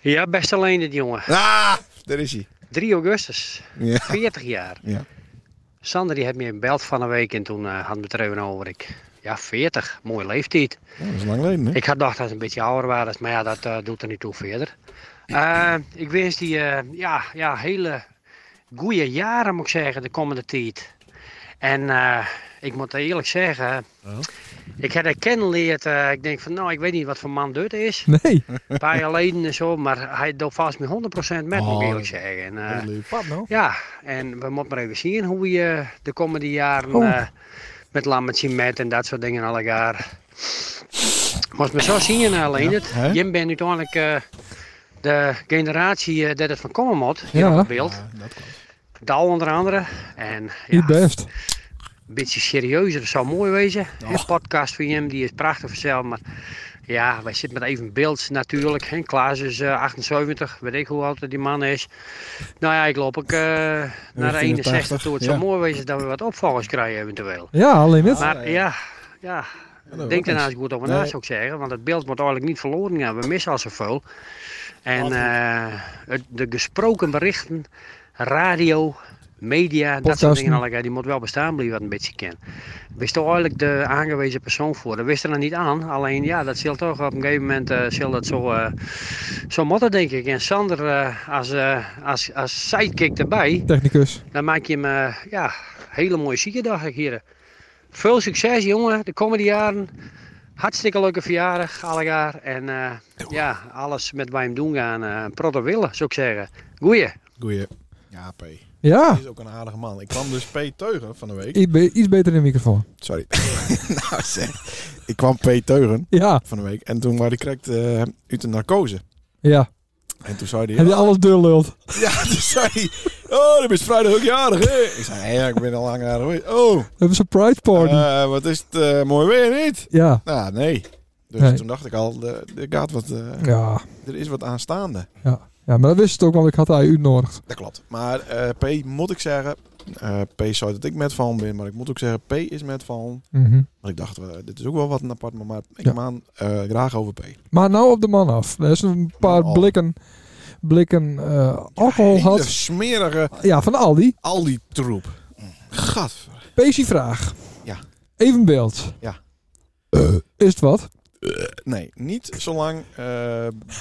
Speaker 13: Ja, best alleen dit jongen.
Speaker 2: Ah, daar is hij.
Speaker 13: 3 augustus,
Speaker 2: Ja.
Speaker 13: 40 jaar.
Speaker 2: Ja.
Speaker 13: Sander die heeft me gebeld van een week en toen eh, had het er even over. Ik, ja, 40, mooie leeftijd.
Speaker 2: Ja, dat is lang geleden, hè?
Speaker 13: Ik had dacht dat het een beetje ouder was, maar ja, dat eh, doet er niet toe verder. Eh, ik wens die eh, ja, ja, hele goede jaren, moet ik zeggen, de komende tijd. En eh, ik moet eerlijk zeggen,
Speaker 2: Oh.
Speaker 13: ik heb er kennenleerd, eh, ik denk van nou, ik weet niet wat voor man dit is.
Speaker 1: Nee.
Speaker 13: Een paar jaar geleden en zo, maar hij doet vast met 100% met, moet ik eerlijk zeggen. En, eh,
Speaker 2: Heel Oh. lief. nou?
Speaker 13: ja, en we moeten maar even zien hoe je eh, de komende jaren
Speaker 1: Oh.
Speaker 13: eh, met lammetje met en dat soort dingen al elkaar. Moest me zo zien alleen het.
Speaker 2: hè?
Speaker 13: Jim bent uiteindelijk eh, de generatie eh, dat het van komen moet hier
Speaker 1: Ja.
Speaker 13: op het beeld. Dal onder andere. En ja,
Speaker 1: Niet best.
Speaker 13: een beetje serieuzer zou mooi wezen. Een podcast van hem, die is prachtig vanzelf. Maar ja, wij zitten met even beeld natuurlijk. En Klaas is eh, 78, weet ik hoe oud die man is. Nou ja, ik loop ook eh, naar de 61 toe. Het zou
Speaker 2: ja.
Speaker 13: mooi wezen dat we wat opvolgers krijgen eventueel.
Speaker 1: Ja, alleen net.
Speaker 13: Maar ja, ja.
Speaker 2: dat
Speaker 13: Denk
Speaker 2: ook
Speaker 13: daarnaast
Speaker 2: eens.
Speaker 13: goed over
Speaker 2: Nee.
Speaker 13: na, zou ik zeggen. Want het beeld moet eigenlijk niet verloren gaan. We missen al zoveel. En eh, het, de gesproken berichten, radio, media, dat soort
Speaker 1: Podcasten.
Speaker 13: dingen allemaal. Die moet wel bestaan blijven wat een beetje kan. Wist toch eigenlijk de aangewezen persoon voor. Dat wist er nog niet aan. Alleen ja, dat zal toch op een gegeven moment eh, zal dat zo, eh zo motten, denk ik. En Sander eh, als, eh, als, als sidekick erbij.
Speaker 1: Technicus.
Speaker 13: Dan maak je hem, eh, ja, hele mooie zieke dag, heren. Veel succes, jongen, de komende jaren. Hartstikke leuke verjaardag, alle jaar. En eh, ja, alles met wij hem doen gaan. eh protten willen, zou ik zeggen. Goeie.
Speaker 2: Goeie. Ja, P.
Speaker 1: Ja.
Speaker 2: Die is ook een aardige man. Ik kwam dus P teugen van de week.
Speaker 1: Iets, be- iets beter in de microfoon.
Speaker 2: Sorry. nou zeg. Ik kwam P teugen van de week. En toen was ik correct eh, uit de narcose.
Speaker 1: Ja.
Speaker 2: En toen zei hij...
Speaker 1: Heb je
Speaker 2: "Ah,
Speaker 1: alles deurlult?
Speaker 2: Ja, toen zei hij... Oh, dan is vrijdag ook jarig, hè? Ik zei, hé, ja, ik ben al lang jarig. geweest." Oh,
Speaker 1: Hebben ze surprise party?
Speaker 2: eh, wat is het eh, mooi weer, niet?
Speaker 1: Ja.
Speaker 2: Nou, nee. Dus
Speaker 1: Nee.
Speaker 2: toen dacht ik al, eh, er gaat wat... eh,
Speaker 1: Ja.
Speaker 2: Er is wat aanstaande.
Speaker 1: ja. Ja, maar dat wist het ook, want ik had hij uitnodigd.
Speaker 2: Dat klopt. Maar eh, P moet ik zeggen... eh, P zou dat ik met van ben, maar ik moet ook zeggen, P is met van.
Speaker 1: Mhm.
Speaker 2: Want ik dacht, eh, dit is ook wel wat een apart, maar ik
Speaker 1: Ja.
Speaker 2: maan eh, graag over P.
Speaker 1: Maar nou op de man af. Er is een paar
Speaker 2: Man af.
Speaker 1: blikken, blikken eh, alcohol
Speaker 2: Nou Hele
Speaker 1: gehad.
Speaker 2: smerige
Speaker 1: Ja, van Aldi.
Speaker 2: Aldi troep. Gadver.
Speaker 1: Peesie vraag.
Speaker 2: Ja.
Speaker 1: Even beeld. Eh,
Speaker 2: Ja.
Speaker 1: Is het wat?
Speaker 2: Nee, niet zolang eh,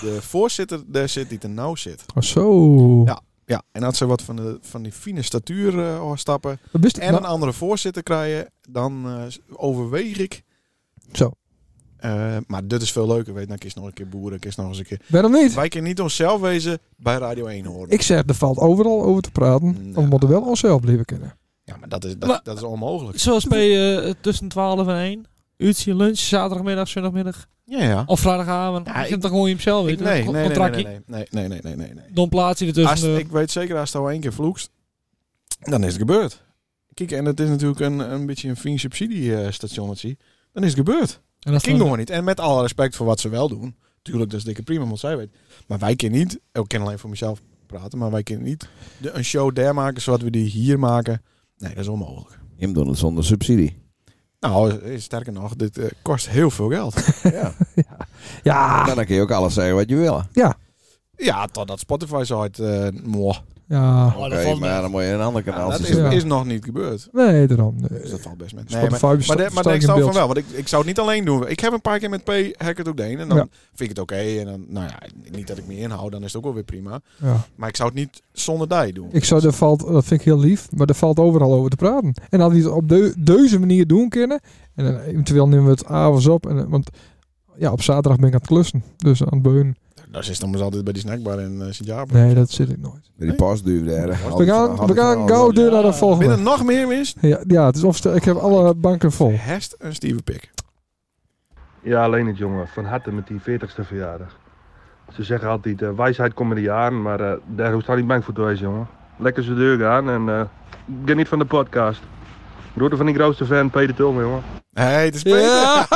Speaker 2: de voorzitter daar zit die te nauw zit.
Speaker 1: Oh, zo.
Speaker 2: Ja, ja. en als ze wat van, de, van die fine statuur eh, stappen
Speaker 1: Dat wist ik
Speaker 2: en
Speaker 1: nou-
Speaker 2: een andere voorzitter krijgen, dan eh, overweeg ik.
Speaker 1: Zo.
Speaker 2: Eh, maar dit is veel leuker, weet je. Dan kies nog een keer boeren, kies nog eens een keer.
Speaker 1: Waarom niet?
Speaker 2: Wij kunnen niet onszelf wezen bij Radio 1 horen.
Speaker 1: Ik zeg, er valt overal over te praten. want We moeten wel onszelf blijven kennen.
Speaker 2: Ja, maar dat is, dat,
Speaker 4: Maar-
Speaker 2: dat is onmogelijk.
Speaker 4: Zoals bij eh, tussen 12 en 1. Uurtje lunch, zaterdagmiddag, zondagmiddag.
Speaker 2: Ja, ja.
Speaker 4: Of vrijdagavond. Ja,
Speaker 2: Ja,
Speaker 4: ik
Speaker 2: ik-
Speaker 4: heb toch gewoon hemzelf
Speaker 2: Ik-
Speaker 4: in.
Speaker 2: nee,
Speaker 4: Nee,
Speaker 2: nee, nee,
Speaker 4: contractje.
Speaker 2: nee, nee, nee, nee, nee, nee, nee, nee.
Speaker 4: Dan plaats je er tussen
Speaker 2: Als,
Speaker 4: de-
Speaker 2: Ik weet zeker, als het al één keer vloekst, dan is het gebeurd. Kijk, en het is natuurlijk een, een beetje een fien subsidiestationnetje. Dan is het gebeurd.
Speaker 4: En
Speaker 2: dat
Speaker 4: als
Speaker 2: ging
Speaker 4: dan-
Speaker 2: gewoon niet. En met alle respect voor wat ze wel doen. Tuurlijk, dat is dikke prima, want zij weet. Maar wij kunnen niet, Oh, ik kan alleen voor mezelf praten, maar wij kunnen niet de, een show daar maken zoals we die hier maken. Nee, dat is onmogelijk.
Speaker 5: Hem doen het zonder subsidie.
Speaker 2: Nou, eh, sterker nog, dit eh, kost heel veel geld. ja.
Speaker 1: Ja.
Speaker 5: Dan kun je ook alles zeggen wat je wil.
Speaker 1: Ja.
Speaker 2: ja, totdat Spotify zo hard... eh, mooi.
Speaker 1: Ja.
Speaker 2: Oh,
Speaker 5: Oké, maar dan moet je een ander kanaal
Speaker 2: dat is,
Speaker 5: zoeken.
Speaker 2: is nog niet gebeurd.
Speaker 1: Nee, daarom. Nee.
Speaker 2: Dus dat valt best met. Nee,
Speaker 1: Spotify
Speaker 2: maar, maar,
Speaker 1: besta-
Speaker 2: de- maar
Speaker 1: staat
Speaker 2: ik
Speaker 1: in
Speaker 2: zou van
Speaker 1: beeld.
Speaker 2: wel, want ik, ik zou het niet alleen doen. Ik heb een paar keer met P hack het ook deen en dan
Speaker 1: Ja.
Speaker 2: vind ik het oké. en dan, nou ja, niet dat ik me inhoud, dan is het ook wel weer prima.
Speaker 1: Ja.
Speaker 2: Maar ik zou het niet zonder die doen.
Speaker 1: Ik zou, er valt, dat vind ik heel lief, maar er valt overal over te praten. En hadden we het op de, deze manier doen kunnen. En dan eventueel nemen we het avonds op. En, want ja, op zaterdag ben ik aan het klussen. Dus aan het beunen.
Speaker 2: Dat is dan maar altijd bij die snackbar in eh Sint-Jaap.
Speaker 1: Nee, dat zit ik nooit.
Speaker 5: Die pasduur daar.
Speaker 1: We gaan, we gaan gauw door naar de volgende.
Speaker 2: Binnen nog meer mis?
Speaker 1: Ja, ja het is of, ik heb alle banken vol.
Speaker 2: Hest een stieve pik.
Speaker 14: Ja, alleen het jongen. Van harte met die 40ste verjaardag. Ze zeggen altijd, eh, wijsheid komt met de jaren, maar eh, daar hoeft hij niet bang voor te wezen, jongen. Lekker zijn deur gaan en eh, geniet van de podcast. Groeten van die grootste fan, Peter Tulman, jongen.
Speaker 2: Hé, hey, het is Peter.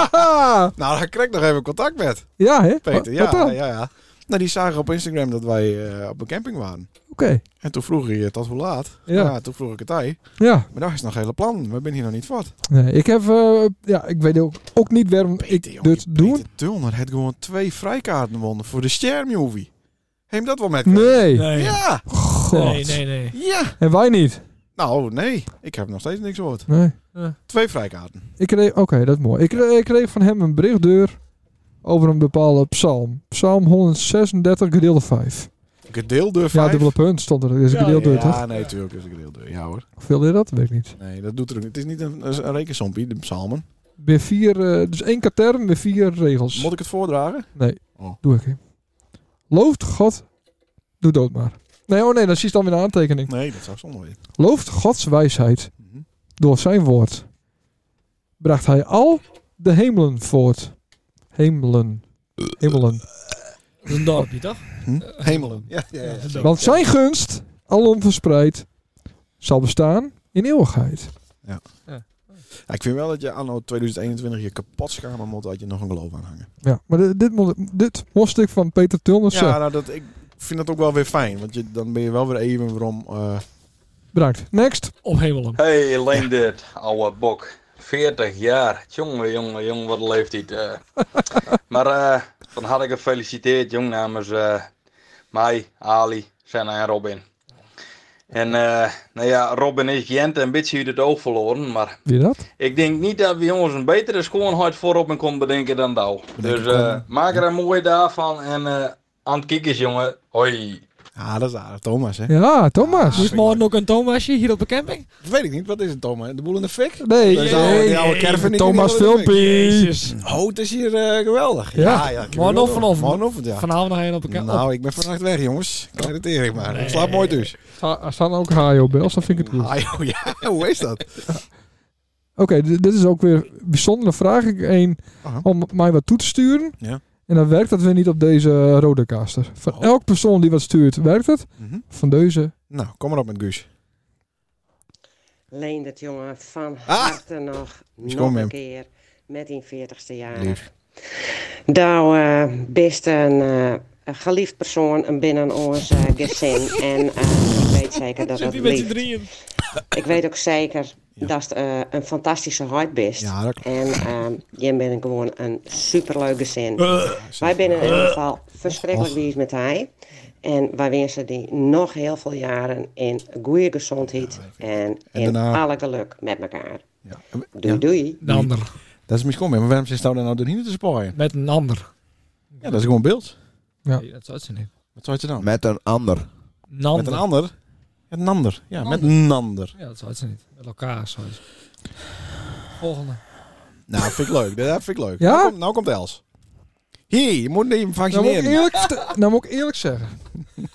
Speaker 2: nou, daar krijg ik nog even contact met.
Speaker 1: Ja, hè?
Speaker 2: Peter, ja,
Speaker 1: Wat dan?
Speaker 2: ja, ja, Nou, die zagen op Instagram dat wij eh, op een camping waren.
Speaker 1: Oké.
Speaker 2: En toen vroeg hij eh, tot hoe laat.
Speaker 1: Ja.
Speaker 2: Ja. toen vroeg ik het hij.
Speaker 1: Ja.
Speaker 2: Maar daar is nog hele plan. We zijn hier nog niet wat.
Speaker 1: Nee, ik heb, eh, ja, ik weet ook, ook niet waarom ik dit doe.
Speaker 2: Tulner had gewoon twee vrijkaarten wonnen voor de Stermovie. Heem dat wel met?
Speaker 1: Nee.
Speaker 2: nee. Ja.
Speaker 1: God. Nee,
Speaker 4: nee, nee.
Speaker 2: Ja.
Speaker 1: En wij niet.
Speaker 2: Nou, nee. Ik heb nog steeds niks gehoord.
Speaker 1: Nee.
Speaker 2: Twee vrijkaarten.
Speaker 1: Ik kreeg, oké, dat is mooi. Ik kreeg, ik kreeg van hem een berichtdeur over een bepaalde psalm. Psalm 136, gedeelte 5.
Speaker 2: Gedeelde
Speaker 1: Ja,
Speaker 2: vijf.
Speaker 1: dubbele punt stond er. Dat is een gedeelte,
Speaker 2: ja,
Speaker 1: toch?
Speaker 2: nee, natuurlijk is het gedeelde. Ja hoor.
Speaker 1: Hoeveel deed dat? Weet ik niet.
Speaker 2: Nee, dat doet er ook niet. Het is niet een, een een rekensompie, de psalmen.
Speaker 1: Weer vier, eh, dus één katern met vier regels.
Speaker 2: Moet ik het voordragen?
Speaker 1: Nee,
Speaker 2: Oh.
Speaker 1: doe ik niet. Looft God, doe dood maar. Nee, oh nee, dat is dan weer een aantekening.
Speaker 2: Nee, dat zou zonde zijn.
Speaker 1: Looft Gods wijsheid
Speaker 2: Mhm.
Speaker 1: door zijn woord. Bracht hij al de hemelen voort. Hemelen. Hemelen.
Speaker 4: Dat is een dorpje, toch?
Speaker 2: Hemelen. Hm? Ja, ja, ja.
Speaker 1: Want zijn gunst, alom verspreid, zal bestaan in eeuwigheid.
Speaker 2: Ja. Ja, Ik vind wel dat je anno 2021 je kapot schamen moet dat je nog een geloof aanhangt.
Speaker 1: Ja, maar dit, dit, mo- dit moest ik van Peter Tulmers
Speaker 2: Ja, nou, dat, ik vind dat ook wel weer fijn. Want je, dan ben je wel weer even waarom... eh,
Speaker 1: Bedankt. Next.
Speaker 4: Op hemelen.
Speaker 15: Hey, Leendert, ouwe bok. 40 jaar. Jongen, jongen, jongen, wat leeft dit. eh. maar eh, van harte gefeliciteerd, jong, namens eh, mij, Ali, Senna en Robin. En eh, nou ja, Robin is Jent een beetje uit het oog verloren. Maar
Speaker 1: Wie dat?
Speaker 15: ik denk niet dat we ons een betere schoonheid voor Robin kon bedenken dan nou. Dus eh, maak er een mooie dag van. En eh, aan het kikkers, jongen. Hoi.
Speaker 2: Ah, dat is aardig. Thomas, hè?
Speaker 4: Ah,
Speaker 1: Ja, Thomas.
Speaker 4: Is morgen ook een Thomasje hier op de camping?
Speaker 2: Dat weet ik niet. Wat is het, Thomas? De boel in de fik?
Speaker 1: Nee,
Speaker 2: Dat is oude-
Speaker 1: nee,
Speaker 2: die oude
Speaker 1: nee,
Speaker 2: caravan die
Speaker 1: Thomas
Speaker 2: in de fik.
Speaker 1: Filmpie.
Speaker 4: Jezus.
Speaker 2: Oh, het is hier eh, geweldig.
Speaker 1: Ja.
Speaker 2: Ja, ja.
Speaker 4: Morgenochtend of-
Speaker 2: Morgenochtend, ja.
Speaker 4: Vanavond nog één op elkaar.
Speaker 2: Nou, ik ben vannacht weg, jongens. Ik irriteer ik maar. Ik slaap mooi dus.
Speaker 1: Sta- Er staan ook haai op Bels, dan vind ik het goed.
Speaker 2: Ah, ja, hoe is dat?
Speaker 1: Oké, d- dit is ook weer bijzonder. Dan vraag ik één om mij wat toe te sturen.
Speaker 2: Ja. Oh.
Speaker 1: En dan werkt dat weer niet op deze rode caster. Van elk persoon die wat stuurt, werkt het. Van deze.
Speaker 2: Mhm. Nou, kom maar op met Guus.
Speaker 16: Leendert, jongen, van
Speaker 4: Ah!
Speaker 16: harte nog, nog
Speaker 2: kom hem.
Speaker 16: een keer met die 40ste jaar. Nou, eh, best een eh, een geliefd persoon binnen ons eh, gezin. en eh, ik weet zeker dat het
Speaker 4: Zit die met z'n
Speaker 16: lief.
Speaker 4: drieën?
Speaker 16: Ik weet ook zeker dat het eh, een fantastische huid bent. En ehm jij bent gewoon een superleuke zin.
Speaker 4: Eh.
Speaker 16: wij zijn in ieder geval verschrikkelijk lief met hij. En wij wensen die nog heel veel jaren in goede gezondheid en
Speaker 2: En
Speaker 16: in
Speaker 2: daarna-
Speaker 16: alle geluk met elkaar.
Speaker 2: Doei,
Speaker 16: doei.
Speaker 4: Een ander.
Speaker 2: Dat is misschien maar waarom zit nou dan nou doorheen te spaaien?
Speaker 4: Met een ander.
Speaker 2: Ja, dat is gewoon beeld.
Speaker 1: Ja.
Speaker 4: dat zou ze niet.
Speaker 2: Wat zou je dan?
Speaker 5: Met een ander.
Speaker 2: Met een ander? Met een ander. Ja, met
Speaker 4: Nander.
Speaker 2: een ander.
Speaker 4: Ja, dat zou ze niet. Met elkaar zou ze. Volgende.
Speaker 2: Nou, vind ik leuk. Dat vind ik leuk.
Speaker 1: Ja?
Speaker 2: Nou, komt, nou komt Els. Hier, je moet even
Speaker 1: Nou moet, ik
Speaker 2: vaccineren.
Speaker 1: eerlijk, vertel- nou moet ik eerlijk zeggen.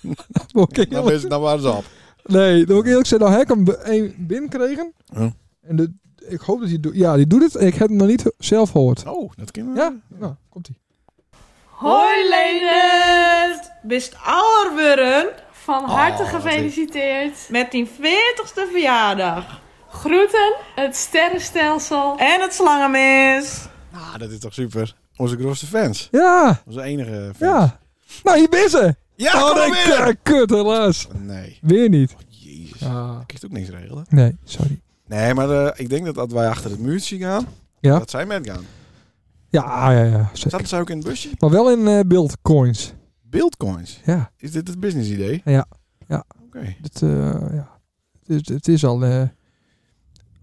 Speaker 1: Nou moet ik
Speaker 2: Nou,
Speaker 1: eerlijk-
Speaker 2: is- nou waren ze op.
Speaker 1: Nee, dan moet ik eerlijk zeggen. Nou heb ik hem be- één binnenkregen.
Speaker 2: Ja.
Speaker 1: En de, ik hoop dat hij doet. Ja, die doet het. Ik heb hem nog niet zelf gehoord.
Speaker 2: Oh, dat kan
Speaker 1: Ja, nou, komt hij.
Speaker 17: Hoi Leendert! Bist ouder worden? Van harte
Speaker 1: wat
Speaker 17: gefeliciteerd met die 40ste verjaardag. Groeten, het sterrenstelsel en het slangenmis.
Speaker 2: Ah, dat is toch super. Onze grootste fans.
Speaker 1: Ja.
Speaker 2: Onze enige fans.
Speaker 1: Ja. Nou, hier ben ze.
Speaker 2: Ja,
Speaker 1: oh,
Speaker 2: kom
Speaker 1: nee,
Speaker 2: maar weer.
Speaker 1: k- kut helaas.
Speaker 2: Nee.
Speaker 1: Weer niet.
Speaker 2: Jezus.
Speaker 1: Ah.
Speaker 2: Ik kan ook niks regelen.
Speaker 1: Nee, sorry.
Speaker 2: Nee, maar eh, ik denk dat als wij achter het muurtje gaan,
Speaker 1: Ja.
Speaker 2: dat zij met gaan.
Speaker 1: Ja, ja, ja. Zeker.
Speaker 2: Zaten zij ook in het busje?
Speaker 1: Maar wel in eh, beeldcoins.
Speaker 2: Beeldcoins?
Speaker 1: Ja.
Speaker 2: Is dit het business idee?
Speaker 1: Ja. Ja.
Speaker 2: Oké.
Speaker 1: Het, eh, ja. het, is- het is al eh,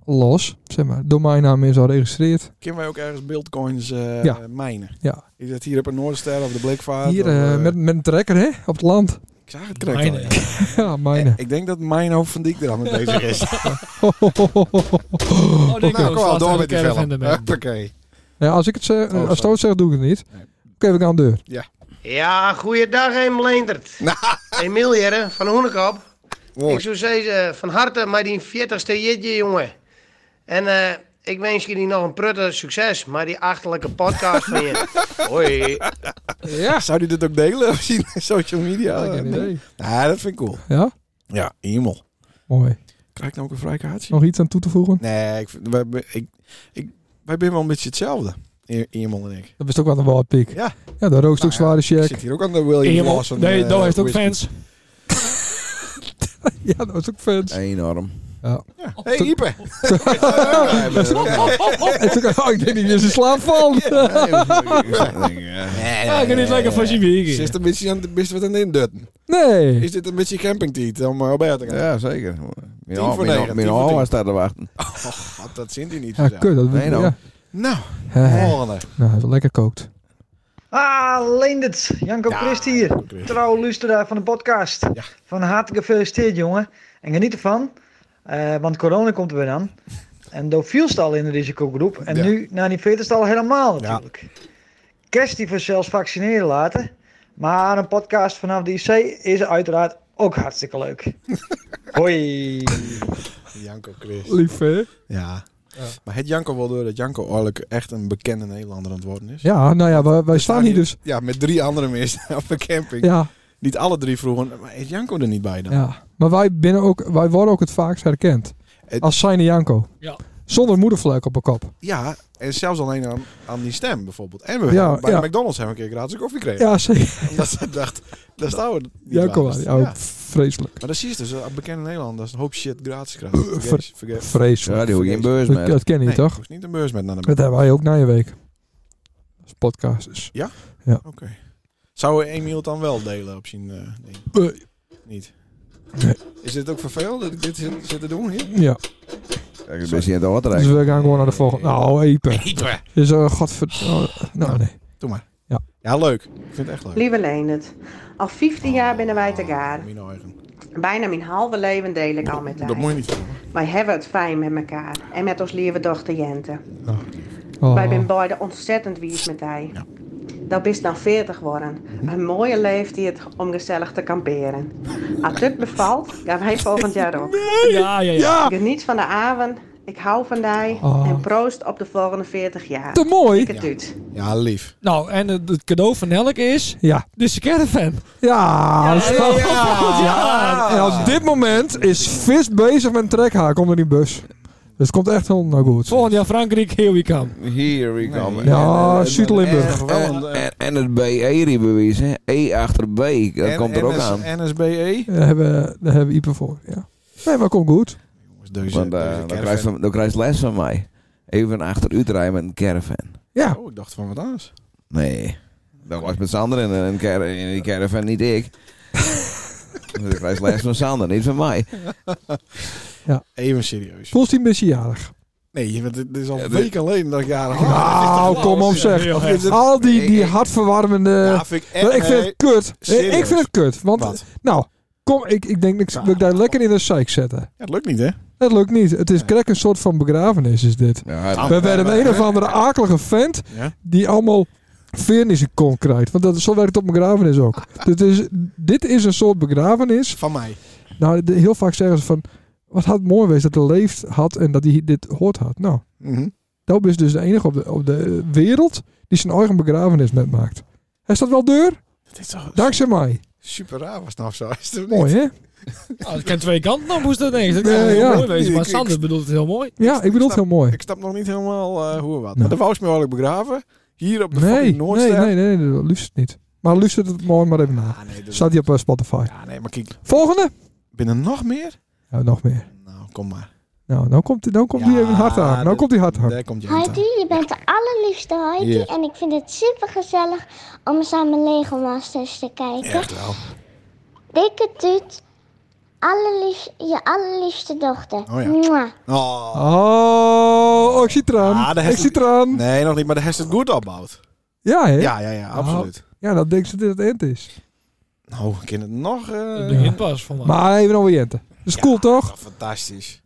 Speaker 1: los, zeg maar. Domeinnaam is al geregistreerd.
Speaker 2: Kunnen wij ook ergens beeldcoins eh
Speaker 1: Ja.
Speaker 2: mijnen?
Speaker 1: Ja.
Speaker 2: Is dat hier op een Noorderster of de Blikvaart?
Speaker 1: Hier
Speaker 2: of,
Speaker 1: eh,
Speaker 2: eh,
Speaker 1: met, met een trekker, hè? Op het land.
Speaker 2: Ik zag het correct al, ja.
Speaker 1: ja, mijnen.
Speaker 2: Ik denk dat mijn hoofd van Dijk er al mee bezig is.
Speaker 1: Oh,
Speaker 2: nou,
Speaker 1: nee,
Speaker 2: kom
Speaker 1: slaat
Speaker 2: wel door
Speaker 1: de
Speaker 2: met die
Speaker 1: caravan
Speaker 2: film.
Speaker 1: ermee.
Speaker 2: Hoppakee.
Speaker 1: Ja, als ik het zeg,
Speaker 2: Oh,
Speaker 1: als Toot zegt, doe ik het niet. Oké, we gaan de deur.
Speaker 2: Ja.
Speaker 18: Ja, goeiedag, Em Leendert. Emiel hier, hè, van Hoenekop.
Speaker 2: Nou. Mooi.
Speaker 18: Ik zou zeggen, eh, van harte met die 40ste jitje, jongen. En eh, ik wens jullie nog een prutte succes met die achterlijke podcast van je. Hoi.
Speaker 1: Ja.
Speaker 2: Zou die dit ook delen op zijn social media?
Speaker 1: Ja, geen
Speaker 2: Nee.
Speaker 1: idee.
Speaker 2: Nee, dat vind ik cool.
Speaker 1: Ja?
Speaker 2: Ja, hemel.
Speaker 1: Mooi.
Speaker 2: Krijg ik nou ook een vrijkaartje?
Speaker 1: Nog iets aan toe te voegen?
Speaker 2: Nee, ik, vind- wij, wij- ik, ik, wij zijn wel een beetje hetzelfde. E- Emel en ik.
Speaker 1: Dat is ook wat een woordpiek.
Speaker 2: Ja. Nou
Speaker 1: Ja, daar rookt ook zware
Speaker 2: Ik
Speaker 1: check.
Speaker 2: zit hier ook aan de William
Speaker 4: Emel-
Speaker 2: Lawson.
Speaker 4: nee,
Speaker 2: eh,
Speaker 4: Doe heeft ook
Speaker 2: whisky.
Speaker 4: fans.
Speaker 1: ja, dat is ook fans.
Speaker 5: Enorm.
Speaker 1: Ja.
Speaker 2: Hey, Ipe.
Speaker 1: Ik zeg, oh, ik denk niet dat ze slaap van.
Speaker 4: Ja, ik kan niet lekker van je wiegen.
Speaker 2: Ze is een beetje aan de best wat aan het indutten.
Speaker 1: Nee.
Speaker 2: Is dit een beetje campingtiet om eh, op uit te gaan?
Speaker 5: Ja, zeker. Mijn
Speaker 2: Tien voor
Speaker 5: oom-
Speaker 2: negen,
Speaker 5: Mijn mijn
Speaker 2: tien voor
Speaker 5: oma
Speaker 2: tien.
Speaker 5: staat te wachten.
Speaker 2: God, dat zint hij niet.
Speaker 1: Ja, kut, dat
Speaker 5: Nee, nou.
Speaker 1: ja.
Speaker 2: Nou,
Speaker 1: Eh,
Speaker 2: volgende.
Speaker 1: Nou, hij lekker kookt.
Speaker 19: Ah, Leendert, Janko Christ hier. Trouw luisteraar van de podcast. Van harte gefeliciteerd, jongen. En geniet ervan, eh, want corona komt er weer aan. En door vielst al in de risicogroep. En
Speaker 20: Ja.
Speaker 19: nu, na die 40 al helemaal natuurlijk. Kerst voor zelfs vaccineren laten. Maar een podcast vanaf de IC is uiteraard ook hartstikke leuk. Hoi.
Speaker 2: Janko Chris.
Speaker 1: Lief, hè?
Speaker 2: Ja. Maar het Janko wel door dat Janko eigenlijk echt een bekende Nederlander aan het worden is?
Speaker 1: Ja, nou ja, wij, wij staan hier dus.
Speaker 2: Ja, met drie andere mensen op de camping.
Speaker 1: Ja.
Speaker 2: Niet alle drie vroegen, maar is Janko er niet bij dan?
Speaker 1: dus. Ja. Maar wij, binnen ook, wij worden ook het vaakst herkend. Als zijnde Janko.
Speaker 2: Ja.
Speaker 1: Zonder moedervleuk op een kop.
Speaker 2: Ja, en zelfs alleen aan, aan die stem bijvoorbeeld. En we
Speaker 1: Ja,
Speaker 2: hebben- bij
Speaker 1: ja.
Speaker 2: de McDonald's hebben we een keer gratis koffie gekregen.
Speaker 1: Ja, zeker.
Speaker 2: Omdat ze dacht, daar staan we niet
Speaker 1: Janko,
Speaker 2: gratis.
Speaker 1: ja, vreselijk.
Speaker 2: Maar dat zie je dus, een bekende Nederlander, dat is een hoop shit gratis krijgt. Vergeet- vergeet-
Speaker 1: Vreselijk.
Speaker 5: Ja, die hoef je geen beurs
Speaker 1: Dat-
Speaker 5: mee.
Speaker 1: Dat ken je
Speaker 2: Nee,
Speaker 1: niet, toch?
Speaker 2: hoeft niet een beurs met naar de
Speaker 1: Dat hebben wij ook na je week. Als podcasters.
Speaker 2: Ja?
Speaker 1: Ja.
Speaker 2: Oké. Zou Emiel het dan wel delen op zijn eh, ding?
Speaker 1: Eh.
Speaker 2: Niet. Is dit ook vervelend dat ik dit zit, zit te doen hier?
Speaker 1: Ja.
Speaker 5: Kijk, een beetje in de
Speaker 1: Dus
Speaker 5: ordrijk.
Speaker 1: we gaan gewoon naar de volgende. Nou, Epe.
Speaker 2: Epe.
Speaker 1: Dus eh godver... oh, nou, nee.
Speaker 2: Doe maar.
Speaker 1: Ja.
Speaker 2: Ja, leuk. Ik vind het echt leuk.
Speaker 20: Lieve Leendert, al 15 jaar binnen wij te gaan.
Speaker 2: Mijn eigen.
Speaker 20: Bijna mijn halve leven deel ik al met
Speaker 2: Dat moet
Speaker 20: wij.
Speaker 2: je niet doen.
Speaker 20: Wij hebben het fijn met elkaar en met ons lieve dochter Jente.
Speaker 1: Oh.
Speaker 20: Wij zijn beide ontzettend wies met hij. Dat is dan 40 worden.
Speaker 2: Mhm.
Speaker 20: Een mooie leeftijd om gezellig te kamperen. Als het bevalt, gaan wij volgend jaar ook.
Speaker 4: Ja, ja, ja.
Speaker 20: Geniet van de avond. Ik hou van die.
Speaker 4: Oh.
Speaker 20: En proost op de volgende 40 jaar.
Speaker 1: Te mooi.
Speaker 20: Ik het doet.
Speaker 2: Ja, lief.
Speaker 4: Nou, en het, het cadeau van Elk is...
Speaker 1: Ja.
Speaker 4: Dus de caravan.
Speaker 1: Ja, dat is wel-
Speaker 4: ja.
Speaker 1: Oh, En op dit moment is Vis bezig met een trekhaak onder die bus. Dus het komt echt helemaal goed.
Speaker 4: Volgend jaar Frankrijk, here we come.
Speaker 5: Here we come.
Speaker 1: Ja, Zuid-Limburg.
Speaker 5: En, en, en, en het BE-bewijs, hè? E achter B, dat
Speaker 2: N- E?
Speaker 5: komt er ook
Speaker 2: NS
Speaker 5: aan.
Speaker 2: NSBE.
Speaker 1: Daar hebben, daar hebben we Ipe voor, ja. Nee, maar komt goed.
Speaker 5: Want eh, dan krijg je- dan krijg je les van mij. Even achter Utrecht met een caravan.
Speaker 1: Ja.
Speaker 2: Oh, ik dacht van wat anders.
Speaker 5: Nee, dat was met Sander in, een car- in die caravan, niet ik. ik krijg les van Sander, niet van mij.
Speaker 1: Ja.
Speaker 2: Even serieus.
Speaker 1: Volgens die misjarig.
Speaker 2: Nee, want dit is al een week alleen dat ik jaren
Speaker 1: Nou, kom op zeg. Al die, die hartverwarmende...
Speaker 2: Ja, vind ik echt-
Speaker 1: Maar ik vind het
Speaker 2: nee,
Speaker 1: kut.
Speaker 2: serieus.
Speaker 1: Ik vind het kut. Want,
Speaker 2: Wat?
Speaker 1: nou, kom, ik, ik denk dat ik- dat ik daar lekker in de zeik zetten.
Speaker 2: Ja, het lukt niet, hè?
Speaker 1: Dat lukt niet. Het is krek een soort van begrafenis is dit.
Speaker 2: Ah,
Speaker 5: Ja,
Speaker 1: We werden een of andere akelige vent
Speaker 2: Ja.
Speaker 1: die allemaal veernissen kon krijgt. Want dat, zo werkt het op mijn begrafenis ook. dit, is, dit is een soort begrafenis.
Speaker 2: Van mij.
Speaker 1: Nou, de- heel vaak zeggen ze van... Wat had het mooi geweest dat hij leeft had en dat hij dit hoort had. Nou,
Speaker 2: Mhm.
Speaker 1: dat is dus de enige op de, op de wereld die zijn eigen begrafenis met maakt. Is dat wel deur? Dankzij mij.
Speaker 2: Super raar was het nou zo. Is het niet?
Speaker 1: Mooi, hè?
Speaker 4: Nou, het kan twee kanten op, hoe is dat nee? Dat kan
Speaker 1: Nee,
Speaker 4: heel
Speaker 1: ja.
Speaker 4: mooi wezen, maar
Speaker 1: Ik- ik-
Speaker 4: Sander bedoelt het heel mooi.
Speaker 1: Ja, ik bedoel het heel mooi.
Speaker 2: Ik snap nog niet helemaal eh, hoe en wat. Maar de wou is me eigenlijk begraven. Hier op de
Speaker 1: Nee,
Speaker 2: fucking
Speaker 1: nee,
Speaker 2: Noordster.
Speaker 1: nee, nee, nee, dat luistert niet. Maar luistert het mooi maar even na. Staat die op eh, Spotify.
Speaker 2: nee, maar kijk.
Speaker 1: Volgende?
Speaker 2: Binnen nog meer?
Speaker 1: Ja, nog meer.
Speaker 2: Nou, kom maar.
Speaker 1: Nou, nou komt, nou komt die even hard aan. Nou
Speaker 2: dit-
Speaker 1: komt die hard aan.
Speaker 2: Daar komt je
Speaker 21: Heidi, je bent de allerliefste Heidi.
Speaker 1: Ja.
Speaker 21: En ik vind het super gezellig om samen Lego Masters te kijken.
Speaker 2: Echt wel.
Speaker 21: Dikke tuut, allerlief, je allerliefste dochter.
Speaker 2: Oh ja.
Speaker 21: Mwah.
Speaker 2: Oh. Ah,
Speaker 1: Oh, ik zie traan. ik zie traan.
Speaker 2: Nee, nog niet, maar daar heeft het goed opbouwd.
Speaker 1: Ja, hè? Nou,
Speaker 2: Ja, ja, ja, absoluut.
Speaker 1: Ja, dan denk ze dat dit het eind is.
Speaker 2: Nou, ik ken het nog. eh
Speaker 4: Het begint pas voor mij.
Speaker 1: Maar even over Jente. Dat is cool, toch?
Speaker 2: Fantastisch.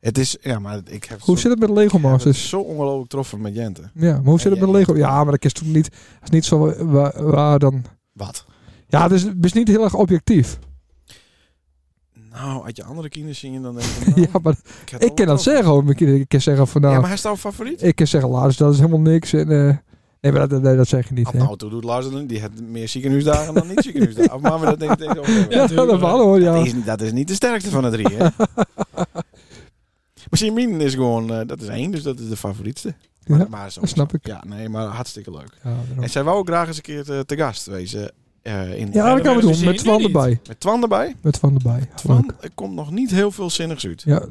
Speaker 2: Het is, ja, maar ik heb
Speaker 1: Hoe
Speaker 2: zo,
Speaker 1: zit het met Lego
Speaker 2: het
Speaker 1: Masters?
Speaker 2: zo ongelooflijk troffen met Jente.
Speaker 1: Ja, maar hoe zit het met Lego? Ja, maar dat is toen niet, dat is niet zo wa- wa- waar dan...
Speaker 2: Wat?
Speaker 1: Ja, het is, het is niet heel erg objectief.
Speaker 2: Nou, uit je andere kinderen zie je dan denk ik,
Speaker 1: Ja,
Speaker 4: Oh.
Speaker 1: maar
Speaker 2: Ik
Speaker 1: ik,
Speaker 2: heb het al
Speaker 1: kan dat zeggen over mijn kinderen. Ik kan zeggen van nou...
Speaker 2: Ja, maar hij is jouw favoriet?
Speaker 1: Ik kan zeggen, Lars, dat is helemaal niks. En, eh, nee, maar dat, nee, dat zeg je niet. hè.
Speaker 2: nou, toen doet Lars het niet. Die heeft meer ziekenhuisdagen dan niet ziekenhuisdagen. Maar we dat denk ik denk ik ook.
Speaker 1: Ja, dat wel hoor, ja.
Speaker 2: Dat is, dat is niet de sterkste van de drie, hè? Misschien Mien is gewoon, eh, dat is één, dus dat is de favorietste. Maar,
Speaker 1: Ja,
Speaker 2: maar zo,
Speaker 1: dat snap ik.
Speaker 2: Ja, nee, maar hartstikke leuk.
Speaker 1: Ja, daarom.
Speaker 2: en zij wou ook graag eens een keer eh, te, te gast wezen. eh, in
Speaker 1: Ja, dat kan we
Speaker 2: Eindhoven.
Speaker 1: doen. Met Twan erbij.
Speaker 2: Met Twan erbij.
Speaker 1: Met Van erbij.
Speaker 2: Twan, er komt nog niet heel veel zinnigs uit.
Speaker 1: Ja,